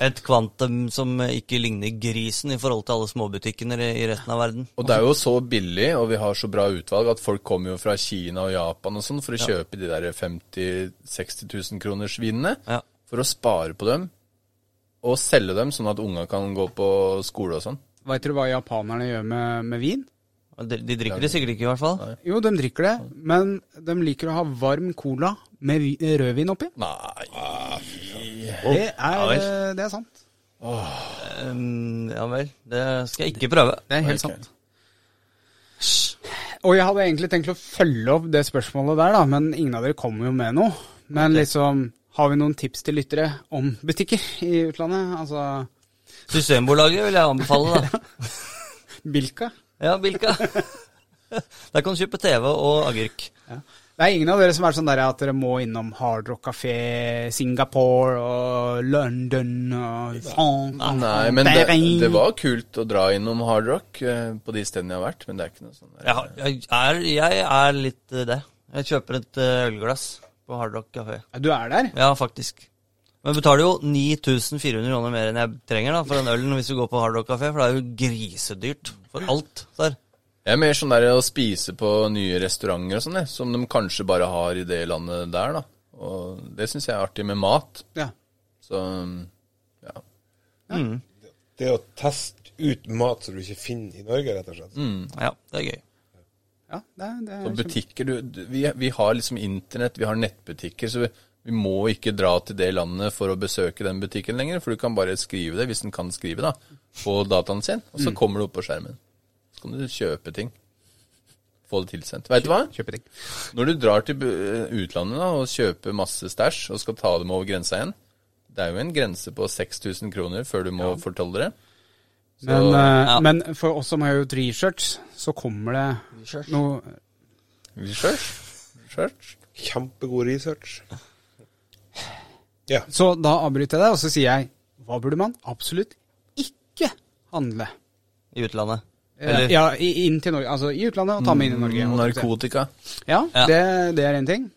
E: et kvantum som ikke ligner grisen i forhold til alle småbutikkene i i resten av verden.
D: Og det er jo så billig, og vi har så bra utvalg, at folk kommer jo fra Kina og Japan og sånn for å kjøpe de der 50 000-60 000 kroners vinene.
E: Ja.
D: For å spare på dem, og selge dem sånn at unga kan gå på skole og sånn.
C: Veit dere hva japanerne gjør med, med vin?
E: De, de drikker det sikkert ikke, i hvert fall.
C: Jo, de drikker det, men de liker å ha varm cola med vi- rødvin oppi.
D: Nei
C: Det er,
E: vel.
C: eh, det er sant.
E: Um, ja vel, det skal jeg ikke prøve.
C: Det er helt sant. Og jeg hadde egentlig tenkt å følge opp det spørsmålet der, da, men ingen av dere kom jo med noe. Men liksom, har vi noen tips til lyttere om butikker i utlandet? Altså,
E: Systembolaget vil jeg anbefale, da.
C: hvilke?
E: Ja, Bilka. Der kan du kjøpe TV og agurk.
C: Det er ingen av dere som er sånn der at dere må innom Hard Rock Café, Singapore og London og France.
D: Nei, men det, det var kult å dra innom Hard Rock eh, på de stedene jeg har vært, men det er ikke noe sånn der.
E: Jeg, har- jeg, er, jeg er litt eh, det. Jeg kjøper et eh, ølglass på Hard Rock Café.
C: Du er der?
E: Ja, faktisk. Men betaler jo 9400 kroner mer enn jeg trenger da, for den ølen hvis du går på Hard Rock Café, for det er jo grisedyrt for alt der.
D: Jeg er mer sånn der å spise på nye restauranter og sånn, jeg, som de kanskje bare har i det landet der, da. Og det syns jeg er artig med mat.
C: Ja.
D: Så ja.
F: Det å teste ut mat som du ikke finner i Norge, rett og slett.
E: Ja, det er gøy.
C: ja det, er- det er
D: Og
C: kjempe-
D: butikker du, du- vi, vi har liksom internett, vi har nettbutikker, så vi, vi må ikke dra til det landet for å besøke den butikken lenger. For du kan bare skrive det, hvis den kan skrive, da, på dataen sin. Og
C: Mm.
D: så kommer det opp på skjermen. Så kan du kjøpe ting. Få det tilsendt. Veit du hva?
C: kjøpe ting.
D: Når du drar til bu- eh, utlandet da, og kjøper masse stæsj og skal ta dem over grensa igjen Det er jo en grense på 6000 kroner før du må fortolle det. Så,
C: Men, eh,
E: ja.
C: men for oss som har gjort research, så kommer det
E: Research?
C: noe
D: research, research.
F: Kjempegod research. Ja.
C: Så da avbryter jeg deg, og så sier jeg hva burde man absolutt ikke handle?
E: I utlandet.
C: Eh,
E: Eller, Mm,
C: Ja, i- inn til Norge, altså i utlandet, og ta med inn i Norge. holdt jeg på å si.
D: Narkotika.
C: Ja,
E: Ja.
C: det, det er én ting.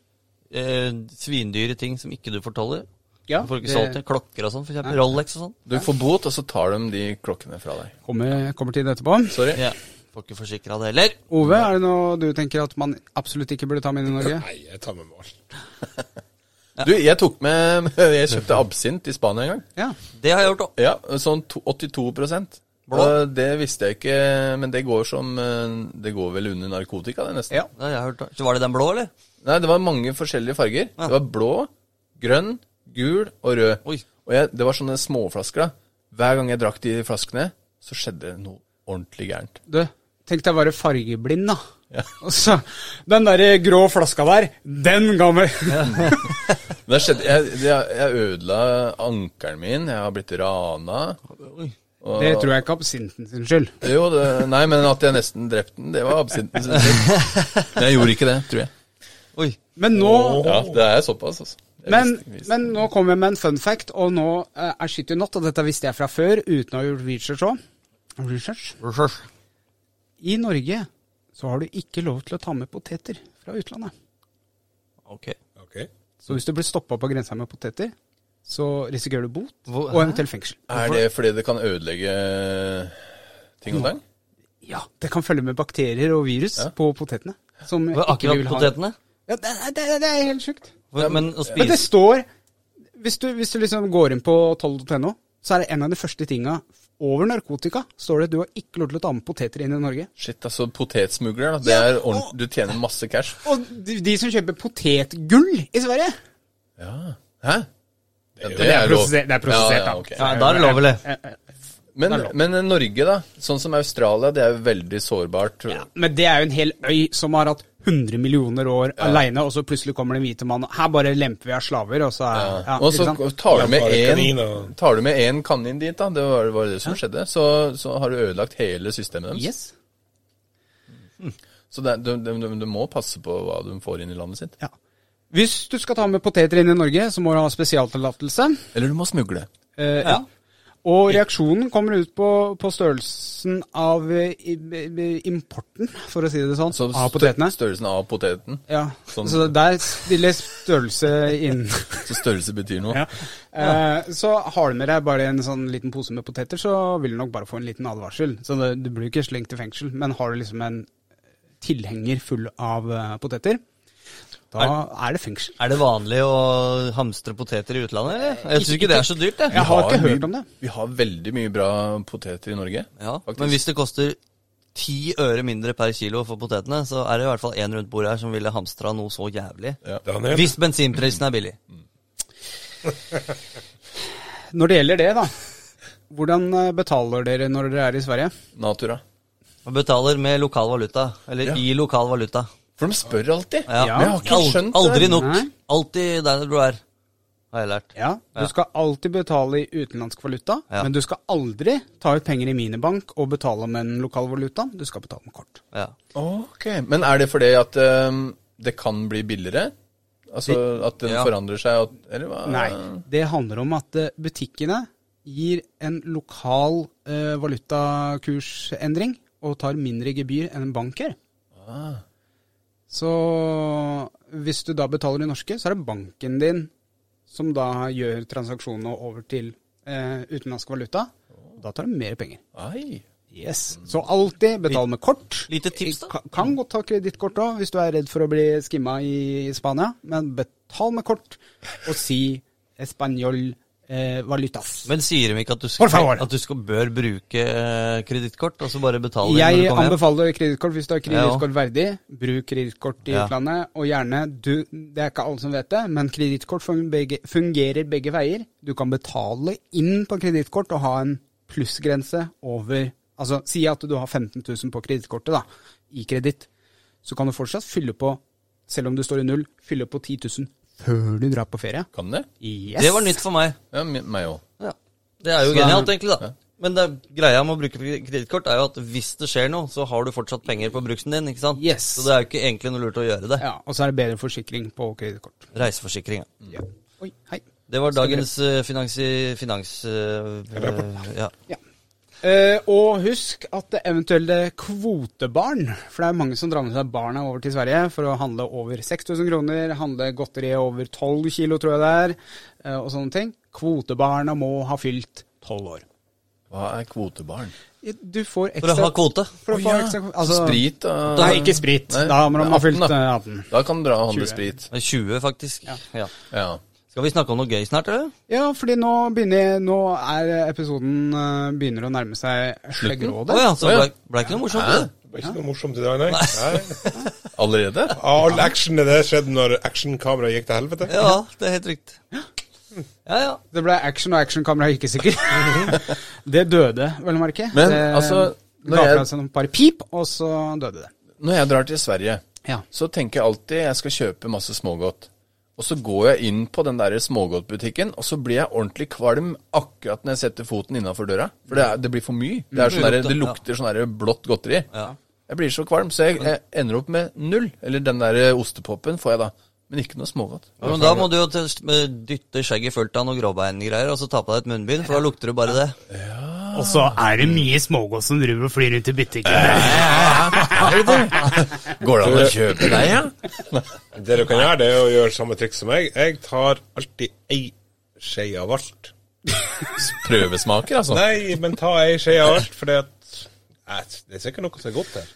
E: eh, svindyre ting som ikke du fortoller.
C: Ja,
E: Du får ikke
C: det
E: solgt det. Klokker og sånn, for eksempel. Rolex og sånn.
D: Du får bot, og så tar de de klokkene fra deg.
C: kommer, kommer til det etterpå.
D: Sorry.
E: Ja. Får ikke forsikra det heller.
C: Ove, er det noe du tenker at man absolutt ikke burde ta med inn i Norge?
F: Nei, jeg tar med meg alt.
D: Du, jeg tok med Jeg kjøpte absint i Spania en gang.
C: Ja.
E: Det har jeg gjort òg.
D: Ja, sånn to- 82
E: Blå.
D: Og det visste jeg ikke, men det går som eh, Det går vel under narkotika, det, nesten.
C: Ja.
E: Det har jeg hørt også. Så Var det den blå, eller?
D: Nei, det var mange forskjellige farger. Det var blå, grønn, gul og rød.
E: Oi.
D: Og jeg, det var sånne småflasker. da. Hver gang jeg drakk de flaskene, så skjedde det noe ordentlig gærent.
C: Du, tenk deg å være fargeblind, da. Og så, Den derre grå flaska der, den ga meg
D: Men Det skjedde, jeg, det, jeg ødela ankelen min, jeg har blitt rana. Og,
C: Det tror jeg ikke er absinten sin skyld.
D: Jo, det, nei, men at jeg nesten drepte den, det var absinten sin skyld. Men jeg gjorde ikke det, tror jeg.
E: Oi.
C: Men nå
D: Ja, det er såpass, altså. Jeg
C: Men,
D: visste- visste.
C: men nå kommer jeg med en fun fact, og nå eh, er shit you not, og dette visste jeg fra før uten å ha gjort research òg. Research. I Norge så har du ikke lov til å ta med poteter fra utlandet.
E: Ok.
F: Ok.
C: Så hvis du blir stoppa på grensa med poteter, så risikerer du bot
E: Hvor-
C: og eventuelt fengsel.
D: Er det fordi det kan ødelegge ting og tang?
C: Ja, det kan følge med bakterier og virus
D: Ja.
C: på potetene. Som
E: Det var
C: ikke vi
E: akkurat
C: vil ha.
E: potetene.
C: Ja, det, er- det, er- det er helt sjukt.
E: Hvor- Men
C: Men
E: å
C: det
E: spise
C: står Hvis du, hvis du liksom går inn på 12.no, så er det en av de første tinga over narkotika. Står det at du har ikke lov til å ta med poteter inn i Norge.
D: Shit, altså potetsmugler, da. Det
C: Ja,
D: er ordent- du tjener masse cash.
C: Og de, de som kjøper potetgull i Sverige,
D: Ja. Hæ? Ja,
C: Det er prosesse- det er prosessert, da.
D: ja, ja, ok.
E: Ja, da er det lov, eller?
D: Men,
C: Det er lov.
D: men Norge, da? Sånn som Australia, det er jo veldig sårbart.
C: Ja, men det er jo en hel øy som har hatt 100 millioner år aleine, og så plutselig kommer det en hvite mann og Her bare lemper vi av slaver, og så er ja.
D: og så
C: ikke sant?
D: tar du
F: Ja,
D: med
F: bare kanin
D: én
F: og-
D: tar du med en kanin dit, da. Det var, var det som skjedde. Så, så har du ødelagt hele systemet deres.
C: Yes.
D: Så det, er- du, du, du- du må passe på hva du får inn i landet sitt.
C: Ja. Hvis du skal ta med poteter inn i Norge, så må du ha spesialtillatelse.
D: Eller du må smugle.
C: Eh,
E: Ja.
C: Og reaksjonen kommer ut på, på størrelsen av eh, i- i- importen, for å si det sånn,
D: Så
C: av
D: stø-
C: potetene.
D: Størrelsen av poteten.
C: Ja,
D: Sånn.
C: Så der stiller størrelse inn.
D: Så størrelse betyr noe.
C: Eh, så har du med deg bare en sånn liten pose med poteter, så vil du nok bare få en liten advarsel. Så det, du blir jo ikke slengt i fengsel, men har du liksom en tilhenger full av eh, poteter, da er det fengsel.
E: Er det vanlig å hamstre poteter i utlandet, eller? Jeg syns ikke det er så dyrt, jeg.
C: Jeg har ikke hørt
D: mye-
C: om det.
D: Vi har veldig mye bra poteter i Norge.
E: Ja,
D: faktisk.
E: men hvis det koster ti øre mindre per kilo for potetene, så er det i hvert fall én rundt bordet her som ville hamstra noe så jævlig.
F: Daniel?
E: Hvis bensinprisen er billig.
C: Når det gjelder det, da. Hvordan eh, betaler dere når dere er i Sverige?
D: Natura.
E: Man betaler med lokal valuta. Eller
D: Ja.
E: i lokal valuta.
D: For de spør alltid.
E: Ja.
C: Ja. Men jeg har
D: ikke skjønt det.
E: Aldri nok.
C: Nei.
E: Alltid der du er, har jeg lært.
C: Ja, Du
E: Ja.
C: skal alltid betale i utenlandsk valuta,
E: Ja.
C: men du skal aldri ta ut penger i minibank og betale med den lokale valutaen. Du skal betale med kort.
E: Ja.
D: Ok, Men er det fordi at øhm, det kan bli billigere? Altså at den
E: Ja.
D: forandrer seg? At, eller hva?
C: Nei, det handler om at eh, butikkene gir en lokal eh, valutakursendring og tar mindre gebyr enn en bank gjør.
E: Ah.
C: Så hvis du da betaler i norske, så er det banken din som da gjør transaksjonene over til eh, utenlandsk valuta. Da tar de mer penger.
D: Ai.
C: Yes. Så alltid betal med kort.
E: Lite tips, da.
C: Ka- Kan godt ta kredittkort òg, hvis du er redd for å bli skimma i Spania. Men betal med kort, og si español eh, valutas.
E: Men sier de ikke at du,
C: Por favor.
E: skal, at du skal, bør bruke eh, kredittkort, og så bare betale når du
C: jeg
E: kommer hjem?
C: anbefaler kredittkort hvis du har
E: Ja,
C: kredittkort verdig. Bruk kredittkort i
E: Ja.
C: utlandet, og gjerne du, Det er ikke alle som vet det, men kredittkort fun- begge- fungerer begge veier. Du kan betale inn på kredittkort og ha en plussgrense over Altså si at du har 15 000 på kredittkortet, da, i kreditt. Så kan du fortsatt fylle på, selv om du står i null, fylle på 10 000 før du drar på ferie.
D: Kan det?
C: Yes.
E: Det var nytt for meg.
D: Ja, mi- meg òg.
E: Det er jo
C: Så-
E: genialt, egentlig, da. Men det, greia med å bruke kredittkort er jo at hvis det skjer noe, så har du fortsatt penger på bruksen din. ikke sant?
C: Yes.
E: Så det er jo ikke egentlig noe lurt å gjøre det.
C: Ja, og så er det bedre forsikring på kredittkort.
E: Reiseforsikring.
C: Ja.
E: ja.
C: Oi, hei.
E: Det var dagens eh, finansi... Finans... eh, ja.
C: Ja. Eh, og husk at det eventuelle kvotebarn, for det er mange som drar med seg barna over til Sverige for å handle over 6000 kroner, handle godteri over 12 kilo, tror jeg det er, eh, og sånne ting. Kvotebarna må ha fylt 12 år.
D: Hva er kvotebarn?
C: Du får
E: For
C: ekstra
E: å ha kvote.
C: For å få ekstra altså,
D: sprit da?
C: Nei, ikke sprit.
D: Nei,
C: Da må de ha fylt eh,
D: 18,
C: 18.
D: Da kan dere handle
C: 20.
D: sprit.
E: Det er 20, faktisk. Ja.
D: Ja.
E: Skal vi snakke om noe gøy snart, eller?
C: Ja, fordi nå begynner nå er episoden eh, begynner å nærme seg
E: Å
C: sleggrådet.
E: ja, så
D: Å, ja.
E: ble, ble ikke noe morsomt. det.
F: Det var ikke noe morsomt i dag, nei. nei.
D: Allerede?
F: All action det skjedde når actionkameraet gikk til helvete.
E: Ja, det er helt riktig. Ja, ja.
C: Det ble action, og actionkamera gikk ikke sikkert. det døde, vel å merke.
D: Mhm. Men,
C: det
D: altså, når
C: ga
D: jeg-
C: fra seg noen par pip, og så døde det.
D: Når jeg drar til Sverige,
C: Ja.
D: så tenker jeg alltid jeg skal kjøpe masse smågodt. Og så går jeg inn på den der smågodtbutikken, og så blir jeg ordentlig kvalm akkurat når jeg setter foten innafor døra. For det, er, det blir for mye. Det, er sånn der, det lukter sånn der blått godteri. Jeg blir så kvalm, så jeg, jeg ender opp med null. Eller den der ostepopen får jeg da. Men ikke noe smågodt.
E: Ja, men da må du jo til, dytte skjegget fullt av noe gråbeingreier, og så ta på deg et munnbind, for da lukter du bare det.
G: Og så er det mye smågodt som driver og flyr rundt i butikken.
C: Eh,
D: Går det an å kjøpe deg, ja?
F: Det du kan gjøre, det er å gjøre samme triks som meg. Jeg tar alltid ei skje av alt.
D: Prøvesmaker, altså.
F: Nei, men ta ei skje av alt, for det er sikkert noe som er godt her.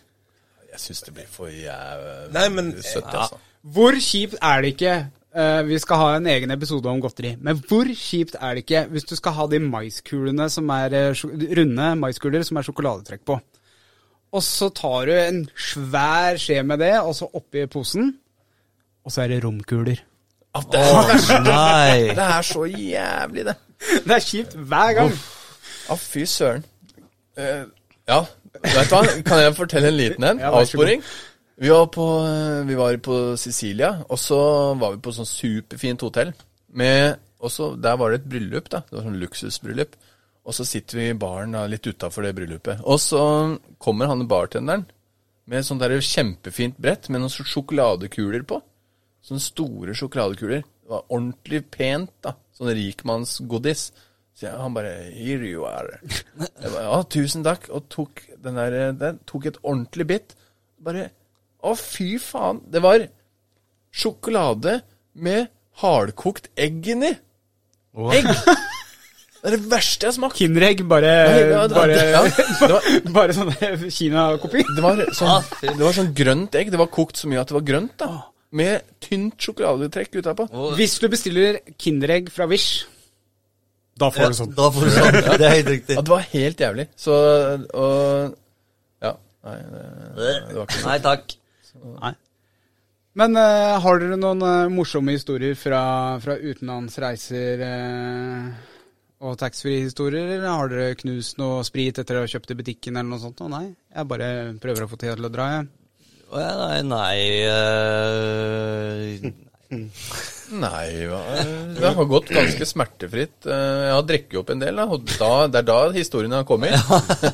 D: Jeg syns det blir for jævlig
F: Nei, men
D: søtt, altså.
C: Hvor kjipt er det ikke eh, Vi skal ha en egen episode om godteri, men hvor kjipt er det ikke hvis du skal ha de maiskulene som er eh, sjo- runde maiskuler som er sjokoladetrekk på? Og så tar du en svær skje med det, og så oppi posen, og så er det romkuler.
D: At det, er så verst.
E: Nei.
D: det er så jævlig, det.
C: Det er kjipt hver gang.
D: Å, fy søren. Eh, ja, vet du hva? Kan jeg fortelle en liten en?
C: Ja, vær så god.
D: Avsporing. Vi var, på, eh, vi var på Sicilia, og så var vi på sånn superfint hotell. Med, og så Der var det et bryllup, da. Det var sånn luksusbryllup. Og så sitter vi i baren da, litt utafor det bryllupet. Og så kommer han bartenderen med sånt der kjempefint brett med noen sånn sjokoladekuler på. Sånne store sjokoladekuler. Det var ordentlig pent, da. Sånn rikmannsgodis. Så jeg, han bare Here you are. Jeg bare, ja, tusen takk. Og tok den der eh, den, Tok et ordentlig bit. Bare Å, fy faen. Det var sjokolade med hardkokt egg inni. Egg! Det er det verste jeg har smakt.
C: Kinderegg, bare,
D: Ja,
C: Eh,
D: det-
C: bare,
D: ja, det var
C: bare sånn Kina-kopi.
D: det var, sånn, det var sånn grønt egg. Det var kokt så mye at det var grønt. da Med tynt sjokoladetrekk utapå.
C: Hvis du bestiller Kinderegg fra Wish, da får
E: Ja,
C: du sånn.
E: da får du sånn. Det er helt riktig.
D: Ja, det var helt jævlig. Så og Ja. Nei, det, det var ikke sånn. noe.
E: Nei takk.
C: Men eh, har dere noen eh, morsomme historier fra, fra utenlandsreiser eh, og taxfree-historier? Eller har dere knust noe sprit etter å ha kjøpt i butikken eller noe sånt? Å, nei, jeg bare prøver å få tida til å dra, jeg.
E: Å, ja, Nei, nei eh,
D: Nei, hva- det har gått ganske smertefritt. Eh, Jeg har drukket opp en del, da, og da, det er da historien har kommet.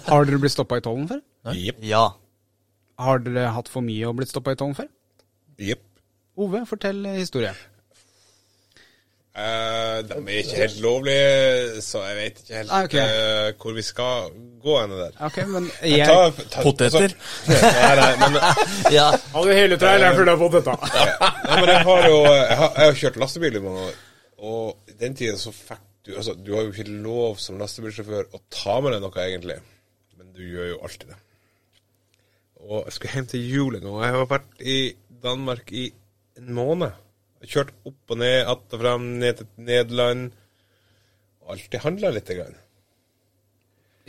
C: Har dere blitt stoppa i tollen før?
F: Jepp.
E: Ja.
C: Har dere hatt for mye og blitt stoppa i tollen før?
F: Jepp.
C: Ove, fortell eh, historie.
F: Eh, de er ikke helt lovlige, så jeg vet ikke helt
C: Ah, ok.
F: eh, hvor vi skal gå hen der.
C: Ok, men
F: Jeg
C: jeg...
F: tar- tar-
D: Poteter?
F: altså- nei, nei, men,
E: ja.
C: Hadde hele traileren full av poteter.
F: nei, men jeg har jo jeg har, jeg har kjørt lastebil i mange år, og i den tiden så fikk du Altså, du har jo ikke lov som lastebilsjåfør å ta med deg noe, egentlig, men du gjør jo alltid det. Og jeg skulle hjem til jul en gang, og jeg har vært i Danmark i en måned. Jeg har kjørt opp og ned, att og frem, ned til Nederland. Alltid handla lite grann.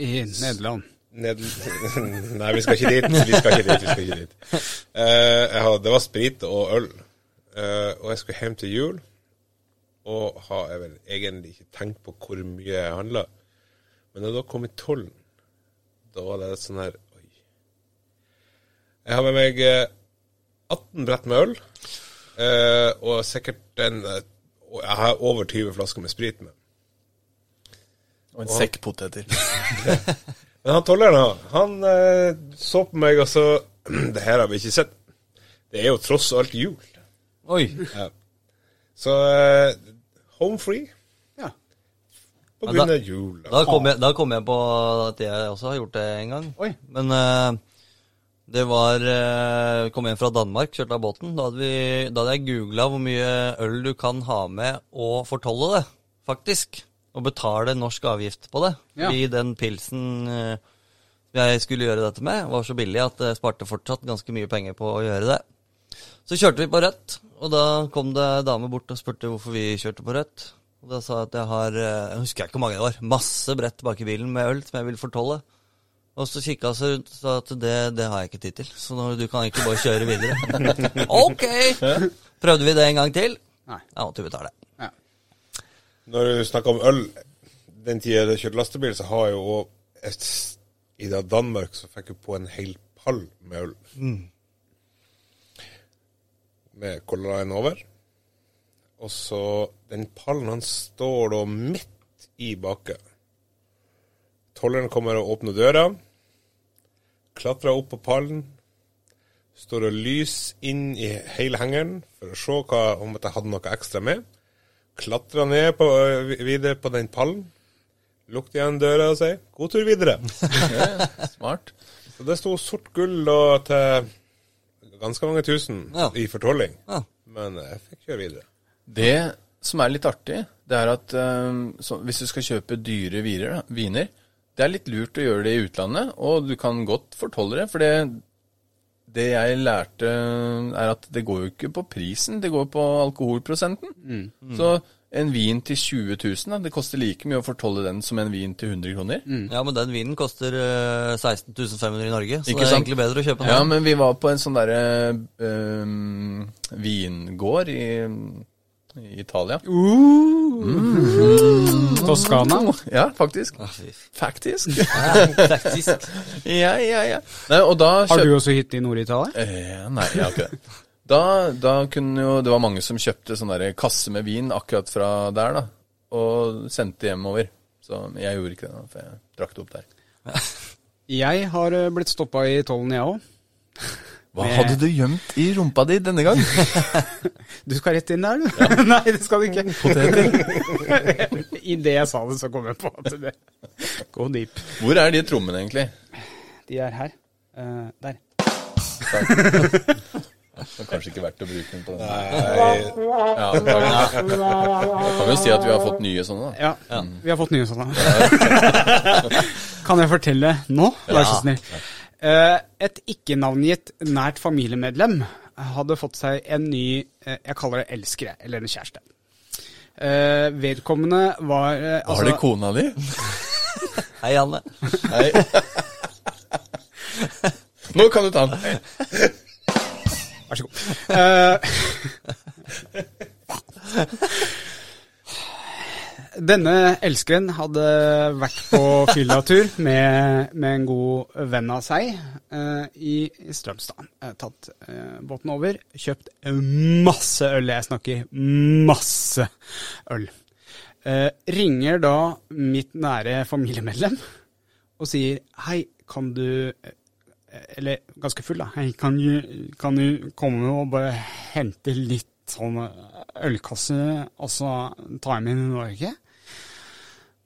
C: I Nederland.
F: Ned... Nei, vi skal ikke dit. Vi skal ikke dit. Vi skal ikke dit. Eh, jeg hadde, det var sprit og øl. Eh, og jeg skulle hjem til jul, og har jeg vel egentlig ikke tenkt på hvor mye jeg handla. Men da jeg da kom i tollen, da var det sånn her Oi. Jeg har med meg eh, 18 brett med øl, eh, og sikkert en eh, og Jeg har over 20 flasker med sprit med.
D: Og en sekk poteter.
F: Men han tolleren, han, han eh, så på meg og så Det her har vi ikke sett. Det er jo tross alt jul.
E: Oi.
F: Så eh, home free
C: Ja.
F: på
E: Ja,
F: grunn
E: da-
F: av jul. altså.
E: Da kom, jeg, da kom jeg på at jeg også har gjort det en gang.
C: Oi.
E: Men eh, det var eh, Kom hjem fra Danmark, kjørte av båten. Da hadde, vi, da hadde jeg googla hvor mye øl du kan ha med og fortolle det, faktisk. Og betale norsk avgift på det.
C: Ja.
E: Fordi den pilsen eh, jeg skulle gjøre dette med, var så billig at jeg sparte fortsatt ganske mye penger på å gjøre det. Så kjørte vi på rødt, og da kom det en dame bort og spurte hvorfor vi kjørte på rødt. Og da sa jeg at jeg har, eh, jeg husker ikke hvor mange det var, masse brett bak i bilen med øl som jeg vil fortolle. Og så kikka han seg rundt og sa at det, det har jeg ikke tid til, så nå- du kan egentlig bare kjøre videre. ok! Prøvde vi det en gang til?
C: Nei.
E: Jeg måtte betale.
C: Ja.
F: Når du snakker om øl Den tida jeg kjørte lastebil, så har jeg jo også et, I da Danmark så fikk jeg på en hel pall med øl. Med Color Line over. Og så Den pallen, han står da midt i baket. Tolleren kommer og åpner døra. Klatrer opp på pallen. Står og lyser inn i hele hengeren for å se hva, om at jeg hadde noe ekstra med. Klatra ned på, øh, videre på den pallen. Lukket igjen døra og sier 'god tur videre'.
D: Smart.
F: Så det sto sort gull da til ganske mange tusen
E: Ja.
F: i fortolling.
E: Ja.
F: Men jeg fikk kjøre videre.
D: Det som er litt artig, det er at eh, så, hvis du skal kjøpe dyre viner, da, viner, det er litt lurt å gjøre det i utlandet, og du kan godt fortolle det, for det, det jeg lærte er at det går jo ikke på prisen, det går på alkoholprosenten. Så en vin til 20 000, da, det koster like mye å fortolle den som en vin til 100 kroner.
C: Mm.
E: Ja, men den vinen koster eh, 16 500 i Norge, så
D: Ikke
E: det er
D: sant?
E: egentlig bedre å kjøpe den.
D: Ja, men vi var på en sånn derre eh, um, vingård i i Italia.
C: Uh. Toskana.
D: Ja, faktisk.
E: fy.
D: Faktisk.
E: Faktisk.
D: Ja, ja, ja. Nei, og da
C: Har
D: kjøp-
C: du også hytte i Nord-Italia?
D: Eh, nei, jeg har ikke det. Da, da kunne jo Det var mange som kjøpte sånn der kasse med vin akkurat fra der, da. Og sendte hjemover. Så men jeg gjorde ikke det, da, for jeg drakk det opp der.
C: Jeg har eh, blitt stoppa i tollen, jeg òg.
D: Hva hadde du gjemt i rumpa di denne gang?
C: Du skal rett inn der, du? Nei, det skal du ikke. Idet jeg sa det, så kom jeg på at det Go deep.
D: Hvor er de trommene, egentlig?
C: De er her. Eh, der.
D: Det er kanskje ikke verdt å bruke dem på den.
F: Nei,
D: Ja, da kan kan jo si at vi har fått nye sånne, da.
C: Ja, vi har fått nye sånne. kan jeg fortelle nå? Vær så snill. Eh, Et ikke-navngitt nært familiemedlem hadde fått seg en ny, eh, jeg kaller det elskere, eller en kjæreste. Eh, vedkommende var eh,
D: Har de
C: altså,
D: kona di?
E: Hei, Anne.
D: Nei. Nå kan du ta den.
C: Vær så god. Eh, Denne elskeren hadde vært på fyllatur med, med en god venn av seg eh, i, i Strømstad. Eh, tatt eh, båten over, kjøpt masse øl. Jeg snakker masse øl. Eh, ringer da mitt nære familiemedlem og sier hei, kan du eh, Eller ganske full, da. Hei, kan du, kan du komme og bare hente litt sånn ølkasse, og så ta med inn i Norge?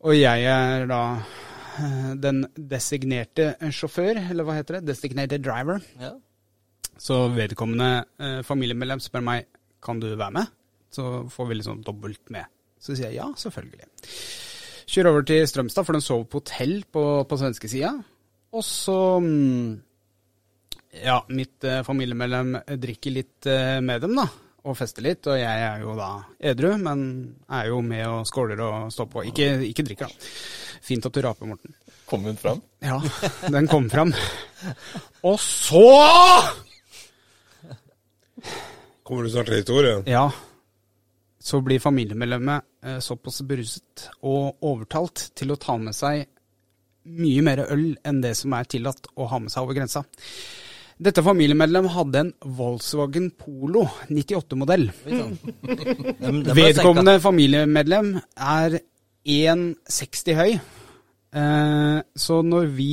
C: Og jeg er da eh, den designerte sjåfør, eller hva heter det? Designated driver.
E: Ja.
C: Så vedkommende eh, familiemedlem spør meg kan du være med. Så får vi liksom dobbelt med. Så sier jeg ja, selvfølgelig. Kjører over til Strømstad, for den sov på hotell på, på svenskesida. Og så mm, Ja, mitt eh, familiemedlem drikker litt eh, med dem, da. Og fester litt. Og jeg er jo da edru, men er jo med og skåler og står på. Ikke, ikke drikker, da. Fint at du raper, Morten.
D: Kom hun fram?
C: Ja, den kom fram. Og så
F: kommer du snart til historien?
C: Ja. Så blir familiemedlemmet eh, såpass beruset og overtalt til å ta med seg mye mer øl enn det som er tillatt å ha med seg over grensa. Dette familiemedlem hadde en Volkswagen Polo 98-modell.
E: Den- den ble
C: Vedkommende familiemedlem er 1,60 høy. Eh, Så når vi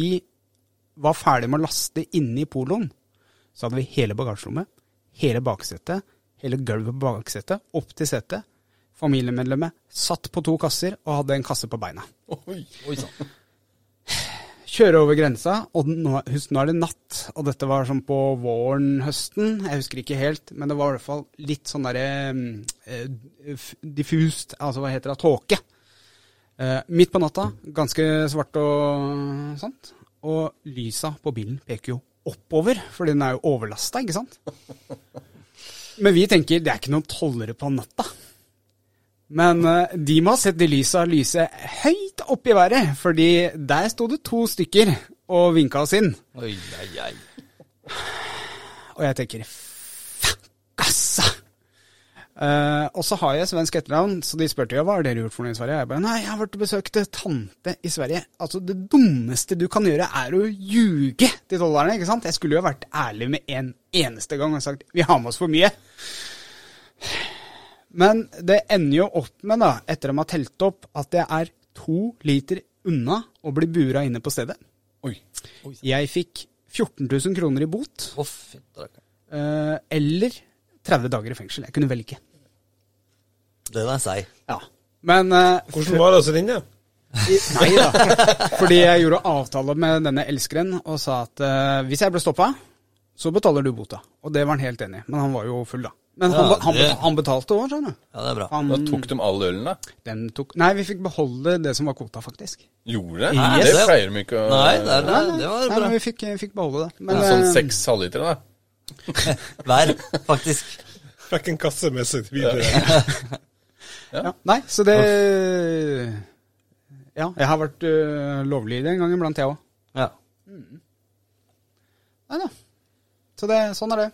C: var ferdig med å laste inne i poloen, så hadde vi hele bagasjerommet, hele baksetet, hele gulvet på baksetet, opp til setet. Familiemedlemmet satt på to kasser og hadde en kasse på beina.
D: Oi.
E: senka. Oi sann.
C: Kjøre over grensa, og den- nå, husk, nå er det natt, og dette var sånn på våren, høsten, jeg husker ikke helt, men det var i hvert fall litt sånn derre mm, eh, f- diffust, altså hva heter det, tåke. Eh, midt på natta, ganske svart og sånt, og lysa på bilen peker jo oppover, for den er jo overlasta, ikke sant? Men vi tenker, det er ikke noen tollere på natta. Men eh, de må ha sett de lysa lyse høyt opp i været, fordi der sto det to stykker og vinka oss inn.
E: Oi, ei, ei.
C: Og jeg tenker fuck, assa! Eh, og så har jeg svensk etternavn, så de spurte jo hva har dere gjort for noe i Sverige. Jeg bare nei, jeg har vært og besøkt eh, tante i Sverige. Altså det dummeste du kan gjøre er å ljuge til dollerne, ikke sant? Jeg skulle jo vært ærlig med en eneste gang og sagt vi har med oss for mye. Men det ender jo opp med, da, etter de har telt opp, at jeg er to liter unna å bli bura inne på stedet.
D: Oi.
C: Jeg fikk 14 000 kroner i bot.
E: Å, fy, drakk.
C: Eh, eller 30 dager i fengsel. Jeg kunne velge.
E: Den er seig.
C: Ja. Men eh,
F: Hvordan var det å sitte inne?
C: Nei da. Fordi jeg gjorde avtale med denne elskeren og sa at eh, hvis jeg ble stoppa, så betaler du bota. Og det var han helt enig i. Men han var jo full, da. Men han,
E: Ja,
C: ba- han,
E: det-
C: beta- han betalte òg, skjønner du.
E: Ja, det er bra.
C: Han,
D: Da tok de all ølen, da?
C: den tok Nei, vi fikk beholde det som var kvota, faktisk.
D: Gjorde det?
E: Nei,
D: Det
E: det-
D: pleier de ikke å
E: Nei, det, er, det, Eh, det var
C: Nei,
E: bra.
C: men vi fikk, vi fikk beholde det. Men,
D: En Sånn
C: eh,
D: seks halvlitere, da.
E: Hver, faktisk.
F: Fikk en kasse med seg videre.
C: Ja, nei, så det Ja, jeg har vært uh, lovlydig en gang iblant, jeg òg.
E: Ja.
D: Mm.
C: Nei da. Så det, sånn er det.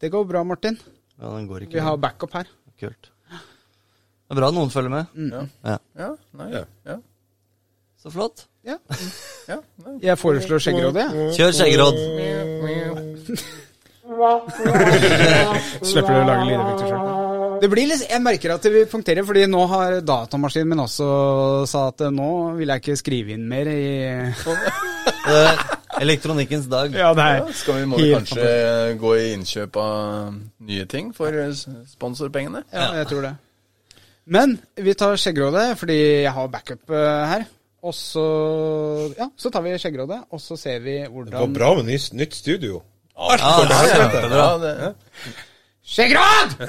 C: Det går bra, Martin.
E: Ja, den går ikke.
C: Vi har backup her.
E: Kult. Det er bra noen følger med.
C: Mm.
D: Ja, nei,
F: Ja.
D: ja.
E: Så flott.
C: Ja.
D: ja nei.
C: Jeg foreslår skjeggerådet, jeg.
E: Kjør skjeggeråd.
C: Slipper du å lage lydeffekter sjøl. Det blir litt, jeg merker at vi punkterer, fordi nå har datamaskinen min også sa at eh, nå vil jeg ikke skrive inn mer i
E: Eh, Elektronikkens dag.
C: Ja, det
D: Ja, skal vi må vi
C: Helt
D: kanskje gå i innkjøp av nye ting for eh, s- sponsorpengene?
C: Ja, jeg tror det. Men vi tar skjeggerådet, fordi jeg har backup eh, her. Og så Ja, så tar vi skjeggerådet, og så ser vi
F: Det går
C: hvordan
F: bra med nytt, nytt studio.
E: Ja, det er kjempebra.
D: Ja, det,
C: Skjeggeråd!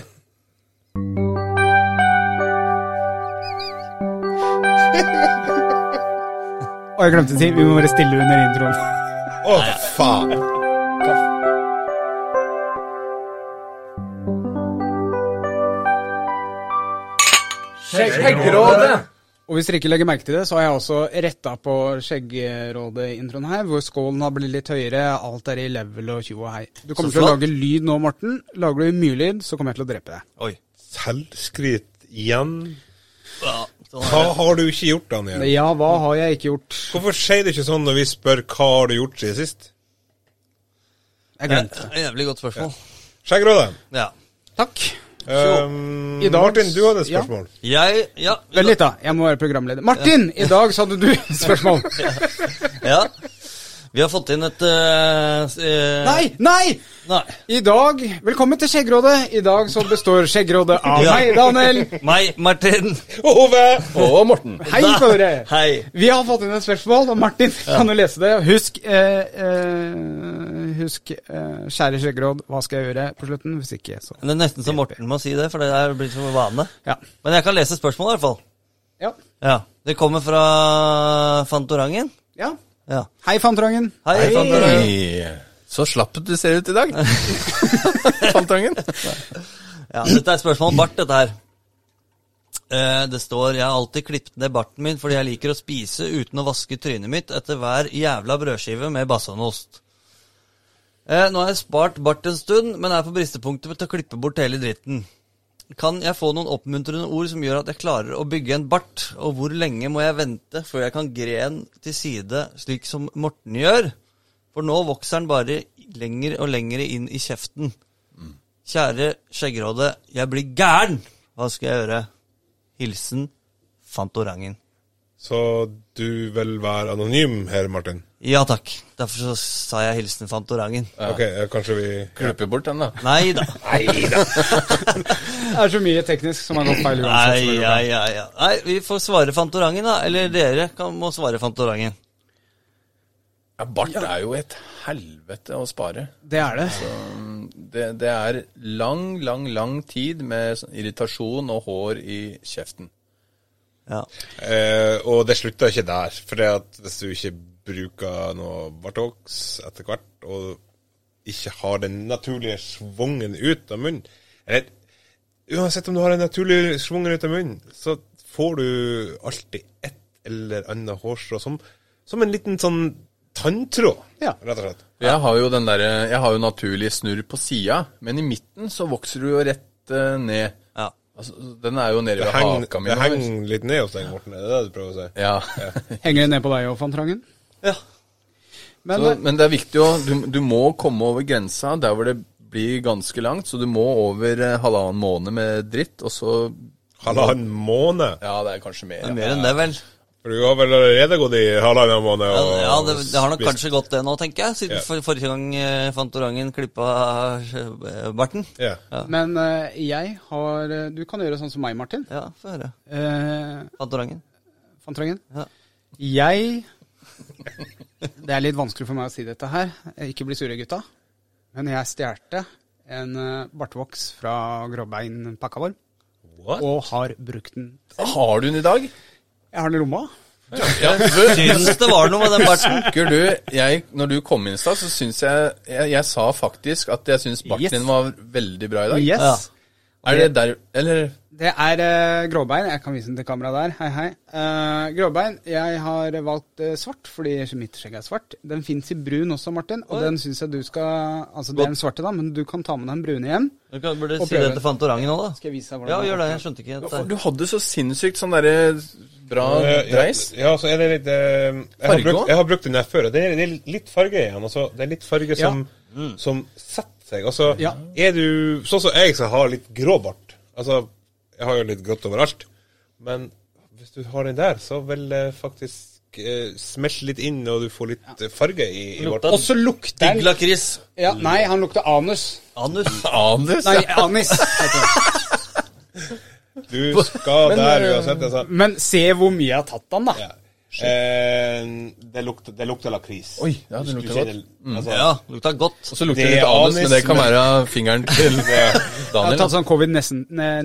C: Og jeg glemte å si, vi må være stille under introen.
F: Å, faen!
C: Og hvis dere ikke legger merke til det, så har jeg også retta på Skjeggerådet-introen her, hvor skålen har blitt litt høyere, alt er i level og tjo og hei. Du kommer
E: Så
C: til å
E: flott.
C: lage lyd nå, Morten. Lager du mye lyd, så kommer jeg til å drepe deg.
E: Oi.
F: Selvskryt igjen.
E: Ja, sånn er
F: Hva
E: det.
F: har du ikke gjort, Daniel?
C: Ja, hva har jeg ikke gjort?
F: Hvorfor sier du ikke sånn når vi spør hva har du gjort siden sist?
C: Jeg
E: Det
C: glemte.
E: er et Jævlig godt spørsmål.
F: Skjeggråde.
E: Ja.
C: Takk.
F: Um,
C: I dag-
F: Martin, du hadde et
C: Ja.
F: spørsmål.
E: Jeg Ja.
C: Vent litt, da. Jeg må være programleder. Martin, i dag så hadde du spørsmål.
E: ja. Vi har fått inn et eh, s- eh,
C: Nei, nei!
E: Nei.
C: I dag, velkommen til Skjeggrådet. I dag så består Skjeggrådet av
E: Ja.
C: meg, Daniel.
E: Meg, Martin.
F: Ove!
D: Og Morten.
C: Hei på dere.
E: Hei.
C: Vi har fått inn et spørsmål, og Martin kan jo lese det. Husk, eh, eh, husk eh, kjære Skjeggråd, hva skal jeg gjøre på slutten? Hvis ikke, så
E: Det er nesten så Morten må si det, for det er blitt som en vane.
C: Ja.
E: Men jeg kan lese spørsmålet, i hvert fall.
C: Ja.
E: Ja. Det kommer fra Fantorangen.
C: ja.
E: Ja.
C: Hei, Fantorangen.
E: Hei, Fantorangen.
D: Så slapp du ser ut i dag. Fantangen.
E: Ja, dette er et spørsmål om bart, dette her. Eh, det står 'Jeg har alltid klippet ned barten min fordi jeg liker å spise uten å vaske trynet mitt etter hver jævla brødskive med basanost'. Eh, nå har jeg spart bart en stund, men er på bristepunktet til å klippe bort hele dritten. Kan jeg få noen oppmuntrende ord som gjør at jeg klarer å bygge en bart? Og hvor lenge må jeg vente før jeg kan gre den til side, slik som Morten gjør? For nå vokser den bare lenger og lenger inn i kjeften. Kjære skjeggeråde, jeg blir gæren! Hva skal jeg gjøre? Hilsen Fantorangen.
F: Så du vil være anonym her, Martin?
E: Ja takk. Derfor så sa jeg hilsen Fantorangen.
F: Ok, eh, kanskje vi
D: Klippe bort den, da.
E: Nei da.
C: Det er så mye teknisk som har gått
E: sånn
C: feil uansett.
E: Nei, ja, ja, ja. Nei, vi får svare Fantorangen, da. Eller dere kan, må svare Fantorangen.
D: Ja, bart er jo et helvete å spare.
C: Det er det.
D: Det, det er lang, lang, lang tid med sånn irritasjon og hår i kjeften.
E: Ja.
F: eh, Og det slutter ikke der. For det at hvis du ikke bruker noe Bartox etter hvert, og ikke har den naturlige svungen ut av munnen Eller uansett om du har den naturlige svungen ut av munnen, så får du alltid et eller annet hårstrå som, som en liten sånn tanntråd,
C: Ja.
F: rett og slett.
D: Jeg har jo den der, jeg har jo naturlig snurr på sida, men i midten så vokser du jo rett eh, ned.
E: Ja.
D: Altså, den er jo nede
F: Det
D: ved
F: henger,
D: haka mi.
F: det
D: nå, hvis-
F: henger litt ned hos deg, Morten. Er det det du prøver å si?
D: Ja.
C: Henger det ned på deg òg, Fantorangen?
E: ja.
C: Men eh,
E: eh,
D: Så, men det er viktig å du, du må komme over grensa der hvor det blir ganske langt, så du må over eh, halvannen måned med dritt, og så
F: Halvannen måned?
D: Ja, det er kanskje mer.
E: Det er
D: Ja.
E: mer enn det, vel.
F: For du har vel allerede gått i halvannen måned
E: Ja,
F: og
E: ja det, det har nok
F: spist-
E: kanskje gått det nå, tenker jeg. Siden
F: Ja.
E: for, forrige gang eh, Fantorangen klippa eh, barten.
F: Ja.
C: Men eh, jeg har eh, Du kan gjøre sånn som meg, Martin.
E: Ja, få høre.
C: Uh,
E: Fantorangen.
C: Fantrangen.
E: Ja.
C: Jeg Det er litt vanskelig for meg å si dette her. eh, Ikke bli sure, gutta. Men jeg stjerte en eh, bartevoks fra gråbeinpakka vår,
F: What?
C: og har brukt den.
D: Har du den i dag?
C: Jeg har den i lomma.
D: Ja, bø-
E: Syns det var noe med den barten.
D: Husker du, jeg, når du kom inn i stad, så syns jeg, jeg Jeg sa faktisk at jeg syns barten
C: Yes.
D: din var veldig bra i dag.
C: Yes.
E: Ja.
D: Er det der Eller
C: Det er eh, gråbein. Jeg kan vise den til kamera der. Hei, hei. Eh, gråbein. Jeg har valgt eh, svart fordi mitt skjegg er svart. Den fins i brun også, Martin. Og den syns jeg du skal Altså, det er den svarte, da, men du kan ta med deg den brune hjem.
E: Du kan, burde
C: Og
E: si det
C: prøve.
E: til Fantorangen òg, da.
C: Skal jeg vise deg hvordan
E: Ja,
C: det er?
E: gjør det. Jeg skjønte ikke dette.
D: Du hadde så sinnssykt sånn derre bra
F: Eh,
D: dreis.
F: Ja, ja, så er det litt eh, jeg har,
D: Farge også?
F: brukt, jeg har brukt den her før, og det er, det er litt farge igjen. Altså, det er litt farge
C: Ja.
F: som,
E: Mm.
F: som setter seg. Altså,
C: Ja.
F: er du Sånn som jeg som har litt grå bart. Altså, jeg har jo litt grått overalt. Men hvis du har den der, så vil det faktisk eh, smelte litt inn, og du får litt eh, farge i, i
E: Lukta
F: barten.
C: Og så lukter
E: Digg
C: den
E: lakris.
C: ja, Nei, han lukter anus.
E: Anus.
D: Anus?
C: Nei,
D: ja.
C: anis. heter det.
F: Du skal der uansett. Altså.
C: Men se hvor mye jeg har tatt den, da.
F: Ja. Eh, det lukter, det lukter lakris.
D: Oi, ja, det
F: Du- du
D: lukter Mm.
F: kjenner- altså,
E: Ja, lukta godt.
D: Og så lukter
F: Det
D: det litt
F: er
D: anus,
F: anus,
D: men det kan
F: men-
D: være fingeren til
C: Jeg har
D: Daniel. altså.
C: tatt sånn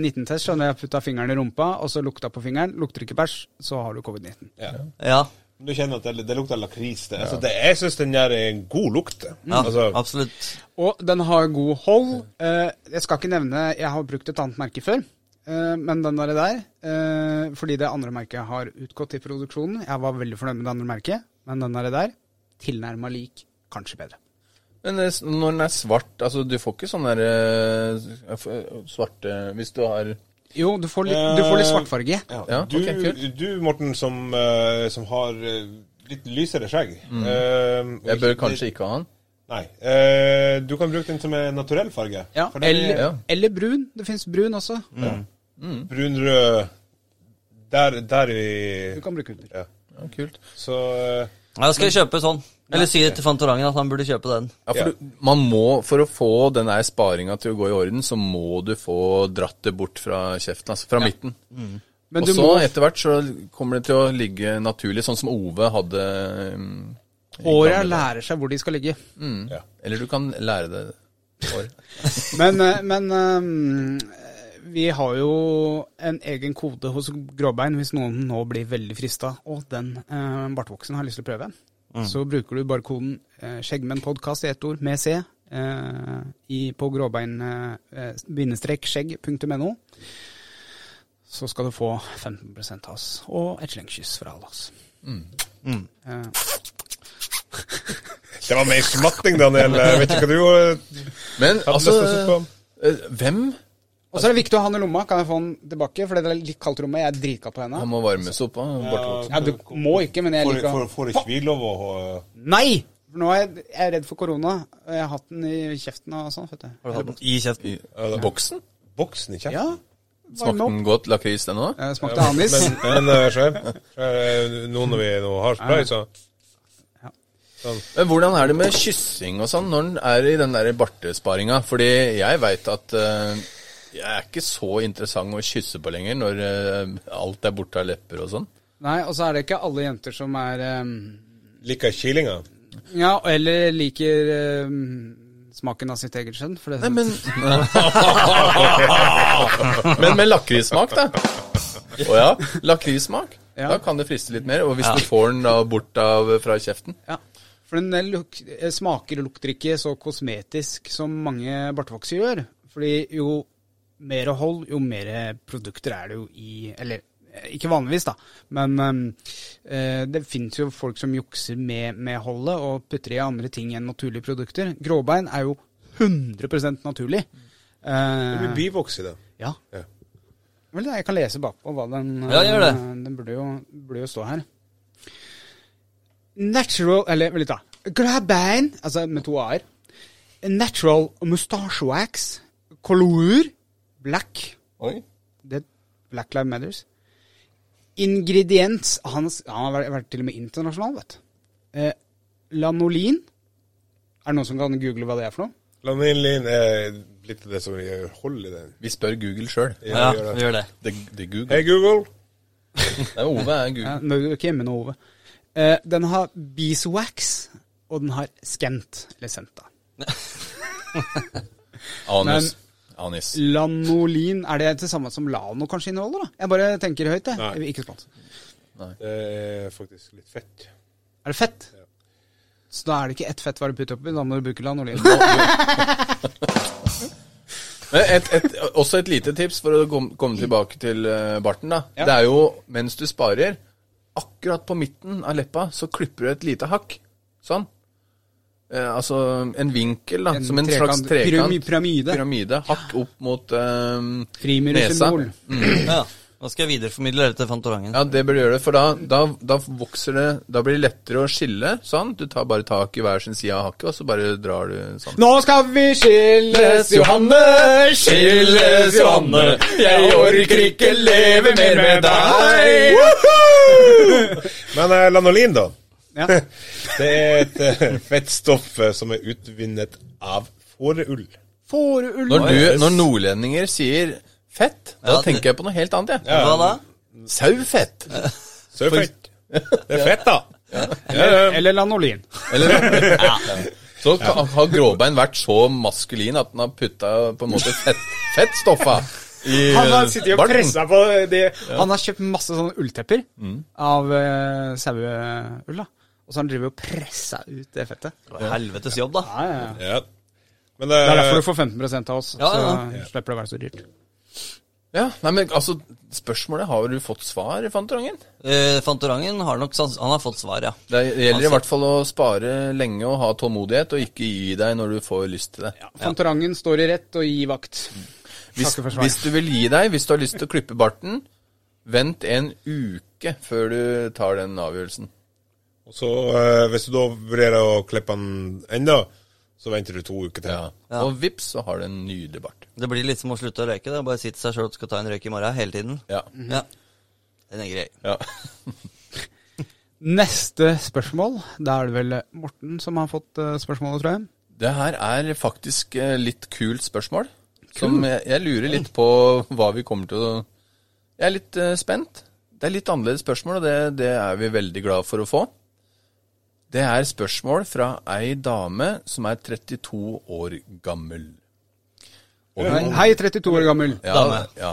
C: covid-19-test, så når jeg putta fingeren i rumpa, og så lukta på fingeren. Lukter ikke bæsj, så har du covid-19.
F: Ja.
E: Ja,
F: Du kjenner at det, det lukter lakris. Det. Altså, det, jeg syns den der er en god lukt.
D: Mm.
E: ja
F: Altså,
E: absolutt.
C: Og den har god hold. Eh, jeg skal ikke nevne Jeg har brukt et annet merke før, eh, men den der, er der eh, Fordi det andre merket har utgått i produksjonen. Jeg var veldig fornøyd med det andre merket, men den der, er der tilnærma lik, kanskje bedre.
D: Men eh, s- når den er svart Altså, du får ikke sånn der eh, f- eh, svarte Hvis du har
C: Jo, du får litt, du får
D: Eh,
C: litt svartfarge.
F: ja.
D: Ja,
F: Du,
D: ok, kult.
F: du, Morten, som, eh, som har eh, litt lysere skjegg eh, og
D: Mm. Jeg bør kanskje ikke ha den.
F: Nei. eh, du kan bruke den som en naturell farge.
C: Ja,
F: For den
C: eller,
F: er
D: ja. Mm.
C: eller brun. Det fins brun også.
F: brunrød der, der vi
C: Du kan bruke under.
F: ja.
D: Ja, kult.
F: Så eh,
E: Ja, skal jeg kjøpe sånn? Eller si det til Fantorangen at han burde kjøpe den.
D: Ja, for
F: Ja.
D: Du, man må, for å få den der sparinga til å gå i orden, så må du få dratt det bort fra kjeften, altså fra midten.
C: Men
D: Og
C: du
D: så
C: må
D: etter hvert så kommer det til å ligge naturlig, sånn som Ove hadde mm, i
C: Håra
D: gamle dager.
C: lærer seg hvor de skal ligge.
D: Mm.
F: ja.
D: Eller du kan lære det. hår.
C: Men, eh, men eh, vi har jo en egen kode hos Gråbein hvis noen nå blir veldig frista, og den eh, bartvoksen har lyst til å prøve. Så bruker du bare koden eh, skjeggmennpodkast i ett ord, med C, eh, i, på eh, gråbein-skjegg.no. Så skal du få 15 av oss, og et slengkyss fra alle oss. Eh,
F: Det var mer smatting, Daniel. Jeg vet ikke hva du eh,
D: Men
F: hadde
D: altså
F: lyst til å se på.
D: eh, Hvem?
C: og så er det viktig å ha den i lomma. Kan jeg få den tilbake? For det er litt kaldt i rommet. Jeg er dritkald på henda.
D: Han må varmes opp av bartevoksen.
C: Ja, du må ikke, men jeg
F: Får,
C: liker å-
F: får, får ikke vi lov å ha-
C: Nei! For nå er jeg, jeg er redd for korona. Jeg har hatt den i kjeften og sånn. vet du.
E: Har du hatt den? I kjeften.
D: I Boksen?
F: boksen i kjeften?
C: Ja, varme
D: Smakte
C: opp.
D: den godt lakris, den òg?
C: Jeg smakte anis.
F: Men, men eh, skjøv, skjøv, eh, nå når vi nå har spray, så
D: Men hvordan er det med kyssing og sånn når den er i den der bartesparinga? Fordi jeg veit at eh, jeg er ikke så interessant å kysse på lenger når eh, alt er borte av lepper og sånn.
C: Nei, og så er det ikke alle jenter som er ehm,
F: liker jeg kilinga.
C: Ja, eller liker ehm, smaken av sitt eget skjønn. For det,
D: Nei, men Men med lakrissmak, da. Å ja. Lakrissmak.
C: Ja.
D: Da kan det friste litt mer. Og hvis du får den da bort av, fra kjeften
C: ja. for den luk, eh, smaker og lukter ikke så kosmetisk som mange bartevokser gjør. Fordi jo mer hold, jo mer produkter er det jo i Eller eh, ikke vanligvis, da, men ehm, eh, det fins jo folk som jukser med, med holdet og putter i andre ting enn naturlige produkter. Gråbein er jo 100 naturlig.
F: Det blir
C: Eh,
F: bivoks i det.
C: ja.
F: Ja.
C: Vel, jeg kan lese bakpå hva den
E: Ja, gjør det.
C: eh, Den burde jo, burde jo stå her. Natural Eller vent litt, da. Grabein, altså med to a-er. Natural mustache wax. Color black.
D: Oi.
C: Det er Black Lives Matters. Ingrediens Han, han har vært- vært til og med internasjonal, vet du. Eh, lanolin. Er det noen som kan google hva det er for noe?
F: Lanilin er litt av det som gjør hold i den.
D: Vi spør Google sjøl.
E: Ja,
F: Ja, gjør
E: vi
F: det.
E: gjør det.
D: Det, det er Google.
F: Hei, Google.
D: Nei, Ove er Google.
C: Ja, Eh, men du er ikke hjemme nå, Ove. Eh, den har beeswax, og den har skent, eller senta.
D: Anus. Anis.
C: Lanolin, er det det samme som Lano kanskje inneholder? da? Jeg bare tenker høyt, jeg.
F: Nei.
C: Ikke spons.
F: Det er faktisk litt fett.
C: Er det fett? Så da er det ikke ett fett hva du putter oppi, da må du bruke lanolin.
D: Men Et, et, også et lite tips for å kom, komme tilbake til eh, barten. da
C: Ja.
D: Det er jo mens du sparer, akkurat på midten av leppa, så klipper du et lite hakk. Sånn. Eh, altså en vinkel, da.
C: En
D: som en
C: trekant.
D: slags trekant.
C: Pyrami- pyramide.
D: pyramide. Hakk opp mot eh,
C: Frimurersymbol.
E: Ja, Nå skal jeg videreformidle dette til Fantorangen.
D: Ja, det bør du gjøre, for da, da, da vokser det Da blir det lettere å skille, sånn. Du tar bare tak i hver sin side av hakket, og så bare drar du sånn.
C: Nå skal vi skilles, Johanne!
D: Skilles, Johanne. Jeg orker ikke leve mer med deg.
F: Men eh, lanolin, da.
C: Ja.
F: Det er et eh, fettstoff eh, som er utvunnet av fåreull.
C: Fåreull.
D: Når, du, når nordlendinger sier fett, da
E: Ja, det-
D: tenker jeg på noe helt annet, jeg.
E: Hva da?
D: Sauefett.
F: Sauefett. Det er fett, da.
C: Eller lanolin.
D: Eller ja. Så kan, har gråbein vært så maskulin at den har putta på en måte fett, fettstoffa i
C: Han har sittet og
D: barten.
C: pressa på det. Han har kjøpt masse sånne ulltepper av uh, saueull. da. Og så har han drevet og pressa ut det fettet.
E: Det var helvetes jobb, da.
C: Ja, ja, ja.
F: Ja. Men
C: Det er derfor
F: eh,
C: du får 15 av oss,
E: Ja, ja,
C: så slipper det å være så dyrt.
D: Ja, nei, men altså, spørsmålet har du fått svar, Fantorangen?
E: Eh, Fantorangen har nok sans Han har fått svar, ja.
D: Det gjelder
E: Altså-
D: i hvert fall å spare lenge og ha tålmodighet, og ikke gi deg når du får lyst til det.
C: Fantorangen står i rett og gir vakt.
D: hvis,
C: takker for svar.
D: hvis du vil gi deg, hvis du har lyst til å klippe barten, vent en uke før du tar den avgjørelsen.
F: og så, eh, hvis du da vurderer å klippe den ennå, så venter du to uker til.
D: Og vips, så har du en nydelig bart.
E: Det blir litt som å slutte å røyke. Det er bare å si til seg sjøl at du skal ta en røyk i morgen hele tiden.
D: Ja.
E: Ja. Den er grei.
D: ja.
C: Neste spørsmål. Da er det vel Morten som har fått eh, spørsmålet, tror jeg.
D: Det her er faktisk eh, litt kult spørsmål. Som jeg, jeg lurer litt på hva vi kommer til å Jeg er litt eh, spent. Det er litt annerledes spørsmål, og det, det er vi veldig glad for å få. Det er spørsmål fra ei dame som er 32 år gammel. Og hun-
C: Hei, 32 år gammel.
D: ja, ja.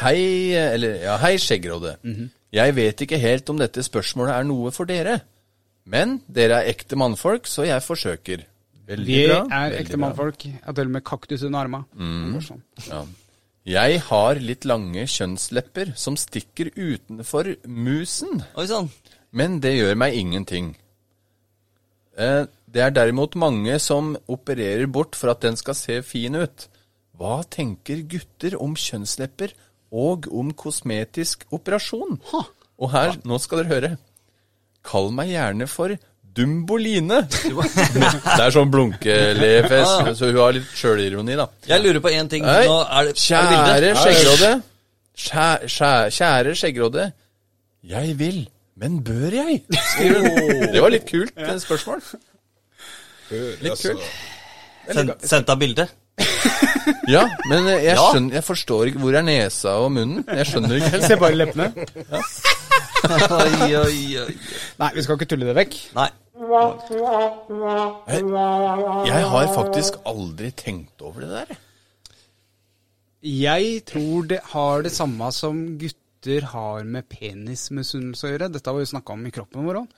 D: Hei, eller, ja, hei Skjeggråde.
C: Mhm.
D: Jeg vet ikke helt om dette spørsmålet er noe for dere. Men dere er ekte mannfolk, så jeg forsøker. Veldig
C: Vi
D: bra,
C: er
D: veldig
C: ekte
D: bra. Mm.
C: mannfolk. Jeg har til og med kaktus under arma. Det går sånn.
D: Ja. Jeg har litt lange kjønnslepper som stikker utenfor musen,
E: Oi sånn. sann.
D: men det gjør meg ingenting. Eh, Det er derimot mange som opererer bort for at den skal se fin ut. Hva tenker gutter om kjønnslepper og om kosmetisk operasjon? Og her, nå skal dere høre. Kall meg gjerne for Dumboline. Det er sånn blunkelefest, så hun har litt sjølironi, da.
E: Jeg lurer på én ting.
D: Hei,
E: Nå er det, er det
D: kjære
E: bildet?
D: skjeggråde. Skjæ- skjæ- Kjære skjeggråde. Jeg vil, men bør jeg? Skriver hun. Det var litt kult eh, spørsmål.
F: Litt
D: kult.
E: Send- Sendt av bilde?
D: Ja, men eh, jeg,
E: Ja.
D: skjønner, jeg forstår ikke Hvor er nesa og munnen? Jeg skjønner ikke helt.
C: Se bare leppene.
E: Oi, oi, oi.
C: Nei, vi skal ikke tulle det vekk.
E: Nei.
D: Jeg har faktisk aldri tenkt over det der.
C: Jeg tror det har det samme som gutter har med penismisunnelse å gjøre. Dette har vi jo snakka om i kroppen vår òg.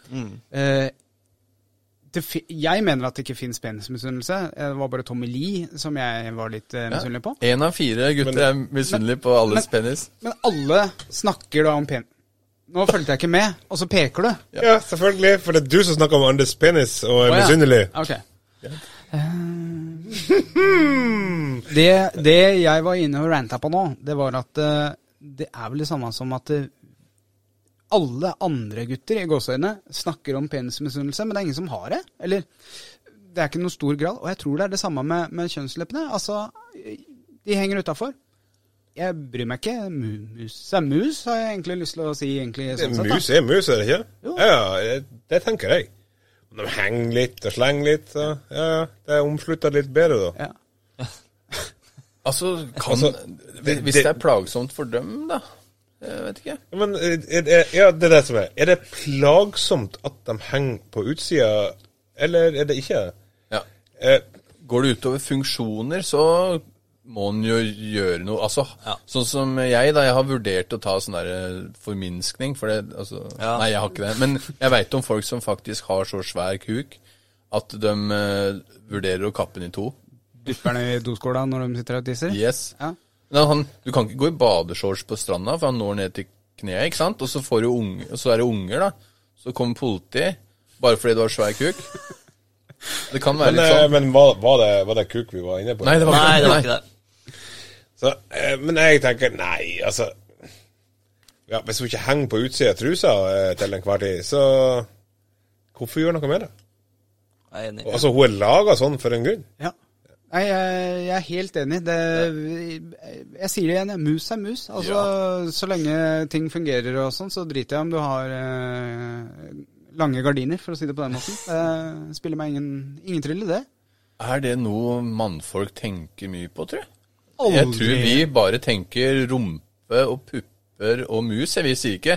C: det, fi- jeg mener at det ikke fins penismisunnelse. Eh, Det var bare Tommy Lee som jeg var litt eh, misunnelig på.
D: Én av fire gutter er misunnelig på alles penis.
C: Men alle snakker da om pen... Nå fulgte jeg ikke med, og så peker du.
F: Ja, selvfølgelig. For det er du som snakker om andres penis og er
C: Å, ja.
F: misunnelig.
C: Ok. det, det jeg var inne og ranta på nå, det var at eh, det er vel det samme som at eh, alle andre gutter i gåseøyne snakker om penismisunnelse, men det er ingen som har det. Eller det er ikke noen stor grad. Og jeg tror det er det samme med, med kjønnsleppene. Altså, de henger utafor. Jeg bryr meg ikke. Mu- Mus er mus, har jeg egentlig lyst til å si. egentlig sånn sett, da.
F: Mus er mus, er det ikke? Ja, ja, det- det tenker jeg. De henger litt og slenger litt. så, Ja, ja, det er omslutta litt bedre, da.
C: Ja.
D: Altså, kan
F: Altså, det-
D: Hvis det er plagsomt for dem, da? Jeg vet ikke.
F: Ja, Men eh, er, er, ja, det er det som er. Er det plagsomt at de henger på utsida, eller er det ikke?
D: Ja.
F: Eh,
D: Går det utover funksjoner, så må en jo gjøre noe. Altså,
E: Ja.
D: Sånn som jeg, da. Jeg har vurdert å ta sånn der eh, forminskning. For det, altså,
E: Ja.
D: Nei, jeg har ikke det. Men jeg veit om folk som faktisk har så svær kuk at de eh, vurderer å kappe den i to.
C: Dypper ned i doskåla når de sitter og tisser?
D: Yes.
C: Ja.
D: Men han, du kan ikke gå i badeshorts på stranda, for han når ned til kneet, ikke sant? Og så, får du unge, og så er det unger, da. Så kommer politiet, bare fordi du har svær kuk. Det kan være
F: Men,
D: litt
F: eh,
D: sånn.
F: men var, var, det, var det kuk vi var inne på?
D: Nei, det var
E: Nei, det var ikke det.
F: Så, eh, men jeg tenker nei, altså ja, Hvis hun ikke henger på utsida av trusa eh, til enhver tid, så hvorfor gjøre noe med det?
E: Jeg er enig.
F: Altså, Hun er laga sånn for en grunn.
C: Ja. Nei, jeg, jeg er helt enig. Det, jeg sier det igjen, jeg. mus er mus. Altså, Så lenge ting fungerer og sånn, så driter jeg om du har eh, lange gardiner, for å si det på den måten. Det spiller meg ingen, ingen trill i det.
D: Er det noe mannfolk tenker mye på, tror jeg? Jeg tror vi bare tenker rumpe og pupper og mus. Jeg vil si ikke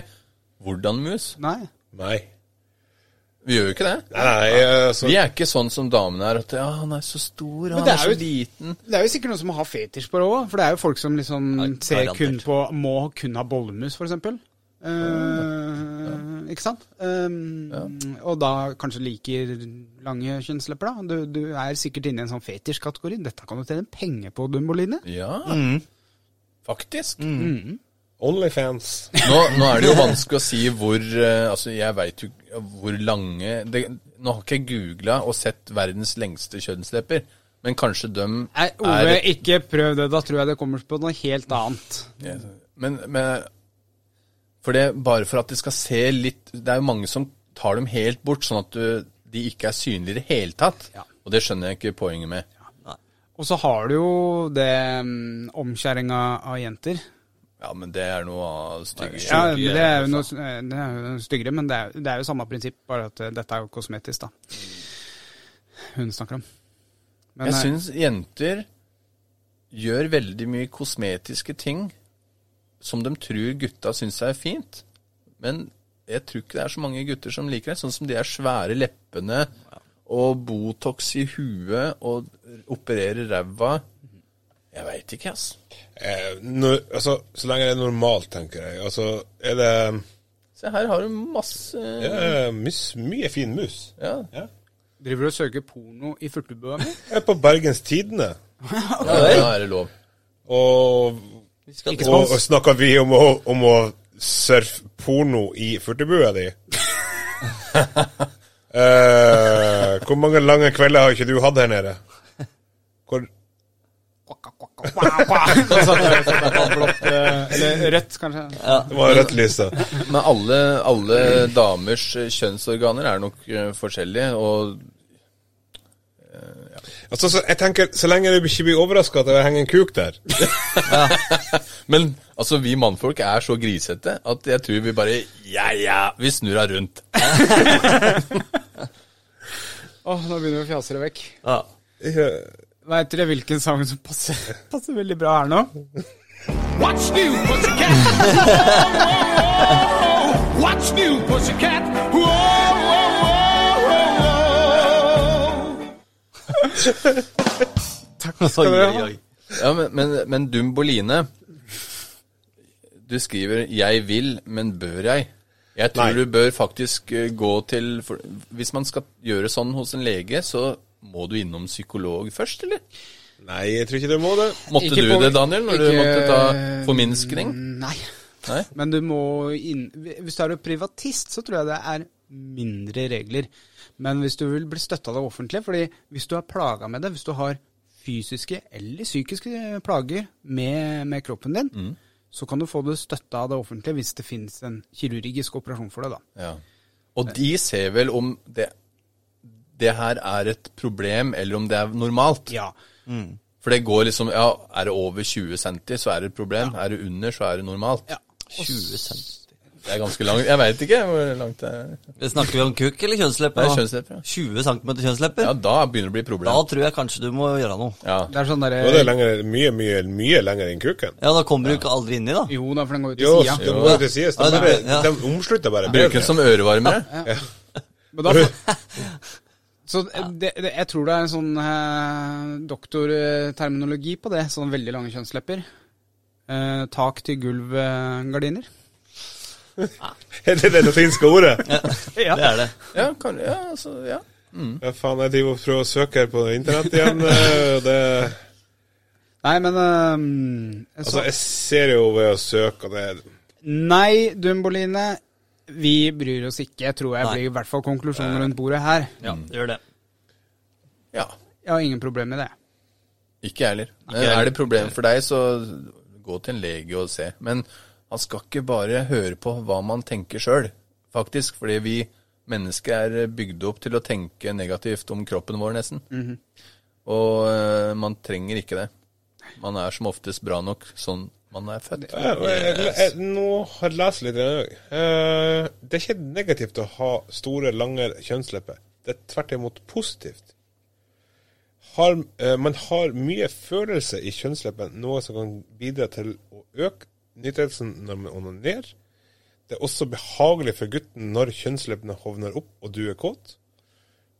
D: hvordan mus.
C: Nei.
F: Nei.
D: Vi gjør jo ikke det.
F: Nei, nei, eh, altså,
D: Vi er ikke sånn som damene er, at ja, han er så stor, han
C: det
D: er,
C: er
D: så
C: jo-
D: liten.
C: Det er jo sikkert noen som har fetisj på det òg, for det er jo folk som liksom
E: Nei,
C: ser
E: garantert.
C: kun på Må kun ha bollemus, for eksempel. Eh, Ikke sant? Um, Og da kanskje liker lange kjønnslepper, da. Du, du er sikkert inne i en sånn fetisjkategori. Dette kan du tjene penger på, Dumboline.
D: Ja,
C: Mm.
D: faktisk.
F: Onlyfans.
D: Nå, nå er det jo vanskelig å si hvor eh, Altså, jeg veit jo ikke hvor lange det, Nå har ikke jeg googla og sett verdens lengste kjønnslepper, men kanskje dem
C: Nei, Ove,
D: er
C: ikke prøv det. Da tror jeg det kommer på noe helt annet.
D: Men, men for det, bare for at det skal se litt Det er jo mange som tar dem helt bort, sånn at du, de ikke er synlige i det hele tatt.
C: Ja.
D: Og det skjønner jeg ikke poenget med.
C: Og så har du jo det mm, omskjæringa av jenter.
D: Ja, men det er noe av stygge
C: Ja, men det er jo noe, eh, det er jo styggere, men det er, det er jo samme prinsipp, bare at eh, dette er jo kosmetisk, da. Hun snakker om. Men,
D: Jeg
C: eh,
D: syns jenter gjør veldig mye kosmetiske ting som de tror gutta syns er fint. Men jeg tror ikke det er så mange gutter som liker det. Sånn som de er svære leppene og Botox i huet og opererer ræva. Jeg veit ikke, ass.
F: Eh, nå, altså, så lenge det er normalt, tenker jeg. Altså, er det
D: Se her har du masse
F: ja, mus, mye fin mus.
D: Ja.
C: Driver du og søker porno i furtebua? mi?
F: Jeg er på Bergens Tidende,
D: Ja, da er det lov.
F: og,
E: Vi skal
F: og, og snakker vi om å, om å surfe porno i furtebua di? eh, hvor mange lange kvelder har ikke du hatt her nede? Hvor,
C: Eller rødt, kanskje?
F: det var rødt lys, da.
D: Men alle, alle damers eh, kjønnsorganer er nok eh, forskjellige, og
F: Altså, så, jeg tenker, så lenge du ikke blir overraska at det henger en kuk der
D: Men altså, vi mannfolk er så grisete at jeg tror vi bare Ja, ja, vi snur deg rundt.
C: Åh, nå begynner vi å fjase det vekk.
E: Ja.
C: Veit dere hvilken sang som passer, passer veldig bra her nå?
A: What's new, pussycat? Whoa, whoa, whoa. What's new, pussycat? Whoa, whoa, whoa, whoa, whoa.
E: Oi, oi, oi.
D: Ja, Men, men, men Dumboline Du skriver 'jeg vil, men bør jeg'? Jeg tror
F: Nei.
D: du bør faktisk eh, gå til for, Hvis man skal gjøre sånn hos en lege, så må du innom psykolog først, eller?
F: Nei, jeg tror ikke det må det.
D: Måtte
C: Ikke
D: du
C: på-
D: det, Daniel, når du
C: ikke-
D: måtte ta forminskning?
C: Nei.
D: Nei?
C: Men du må inn... Hvis du er privatist, så tror jeg det er mindre regler. Men hvis du vil bli støtta av det offentlige, fordi hvis du er plaga med det, hvis du har fysiske eller psykiske plager med, med kroppen din,
D: Mm.
C: så kan du få det støtta av det offentlige hvis det finnes en kirurgisk operasjon for det, da.
D: Ja. Og de ser vel om det, det her er et problem, eller om det er normalt.
C: Ja.
D: For det går liksom Ja, er det over 20 cm, så er det et problem. Er det under, så er det normalt.
E: 20 cent.
D: Det er ganske langt. Jeg veit ikke hvor langt det er.
E: Vi Snakker vi om kuk eller kjønnslepper?
D: Det
E: nå?
D: er kjønnslepper, ja.
E: 20 cm kjønnslepper?
D: Ja, da begynner det å bli
E: Da
D: problem.
E: tror jeg kanskje du må gjøre noe.
D: Ja.
C: Det er sånn
F: Nå er det
C: derre
F: lenger, mye, mye, mye lenger enn kuken.
E: Ja, da kommer du ikke aldri inni, da.
C: Jo da, for den går ut
F: Jo,
C: til
F: det
C: sida.
F: må jo det sies. De,
E: Ja, det-
F: bare,
E: ja.
F: de omslutter bare
D: Bruke den som ørevarmere.
C: Men da Så det, det, jeg tror det er en sånn eh, doktorterminologi på det. Sånn veldig lange kjønnslepper. Eh, tak til gulv-gardiner.
F: Er det det latinske ordet?
E: Det er det.
D: Ja, kan, ja, altså, ja.
F: Ja, faen, jeg driver og prøver å søke her på internett igjen. eh, og det,
C: Nei, men eh, øhm, så,
F: altså, jeg ser jo ved å søke at det
C: Nei, Dumboline. Vi bryr oss ikke, tror jeg
E: Nei.
C: blir i hvert fall konklusjonen rundt bordet her.
E: Ja, gjør det.
D: Ja.
C: Jeg har ingen problemer med det.
D: Ikke jeg heller. Men
E: jeg heller.
D: Er det problem for deg, så gå til en lege og se. Men han skal ikke bare høre på hva man tenker sjøl, faktisk. Fordi vi mennesker er bygd opp til å tenke negativt om kroppen vår, nesten.
E: Mhm.
D: Og eh, man trenger ikke det. Man er som oftest bra nok sånn man er født.
F: Ja, men jeg- jeg- jeg- eh, Nå har jeg lest litt i dag. Eh, Det er ikke negativt å ha store, lange kjønnslepper. Det er tvert imot positivt. Har, eh, man har mye følelse i kjønnsleppen, noe som kan bidra til å øke nytelsen når man onanerer. Det er også behagelig for gutten når kjønnsleppene hovner opp og du er kåt,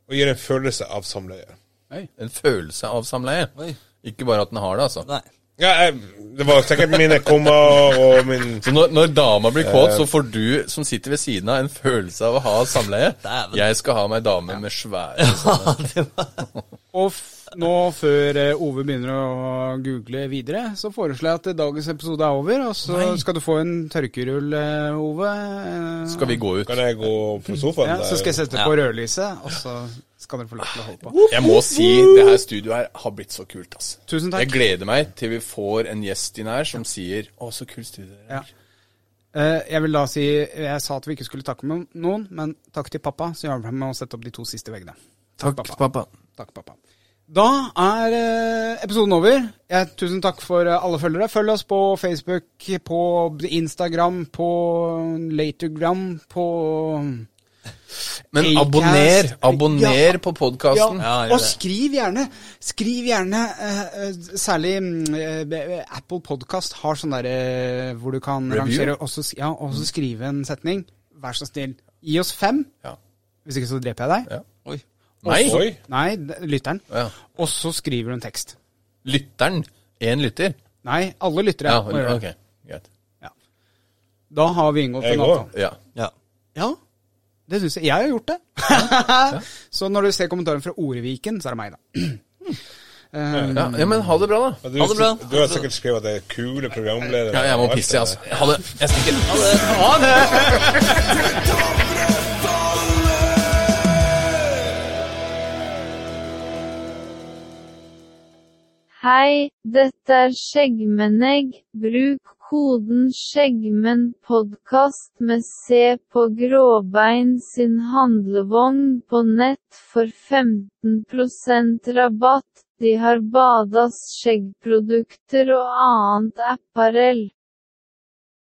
F: og gir en følelse av samleie.
D: En følelse av samleie.
E: Oi.
D: Ikke bare at den har det, altså.
E: Nei.
F: Ja, jeg, det var sikkert mine komma og min
D: Så når, når dama blir kåt, så får du som sitter ved siden av, en følelse av å ha samleie.
E: Dæven.
D: Jeg skal ha meg dame med svære
C: Og f nå før eh, Ove begynner å google videre, så foreslår jeg at eh, dagens episode er over. Og så skal du få en tørkerull, eh, Ove. eh,
D: Skal vi gå ut?
F: Kan jeg gå på sofaen?
C: ja,
F: der?
C: Så skal jeg sette
E: Ja.
C: på rødlyset, og så skal dere få lov til å holde på.
D: Jeg må si det her studioet her har blitt så kult, ass.
C: Tusen takk.
D: Jeg gleder meg til vi får en gjest inn her som sier 'Å, så kult studio det er'.
C: Ja. Eh, Jeg vil da si Jeg sa at vi ikke skulle takke med noen, men takk til pappa, som hjalp meg med å sette opp de to siste veggene. Takk,
D: pappa.
C: Takk, pappa. Da er eh, episoden over. Jeg, tusen takk for eh, alle følgere. Følg oss på Facebook, på Instagram, på Latergram, på
D: Men
C: Acast.
D: abonner! Abonner på podkasten.
E: Ja, gjør
C: og
E: det.
C: skriv gjerne! Skriv gjerne eh, eh, Særlig mm, eh, be- eh, Apple Podcast har sånn derre hvor du kan
D: Review?
C: rangere og så s- ja, og så skrive en setning. Vær så snill. Gi oss fem,
D: Ja.
C: hvis ikke så dreper jeg deg.
D: Ja.
E: Oi.
D: Nei,
F: Oi.
C: Nei, d- lytteren.
D: Ja.
C: Og så skriver du en tekst.
D: lytteren. Én lytter.
C: Nei, alle lyttere.
D: Ja,
C: må gjøre det.
D: ok. Greit.
C: Da har vi inngått
F: Jeg
C: en
F: går.
C: avtale.
D: Ja.
E: Ja.
C: Ja, det syns jeg. Jeg har gjort det. så når du ser kommentaren fra Oreviken, så er det meg, da. Eh,
D: Ja, ja, men ha det bra, da.
F: Du,
E: Ha det bra.
F: du har sikkert skrevet at det er kule programledere.
D: Ja, jeg må
F: og alt
D: pisse,
F: det
D: altså. Ha det. Jeg stikker. Ha det.
H: Hei, dette er Skjeggmennegg. Bruk koden skjeggmennpodkast med C på Gråbein sin handlevogn på nett for 15 rabatt. De har Badas skjeggprodukter og annet apparell.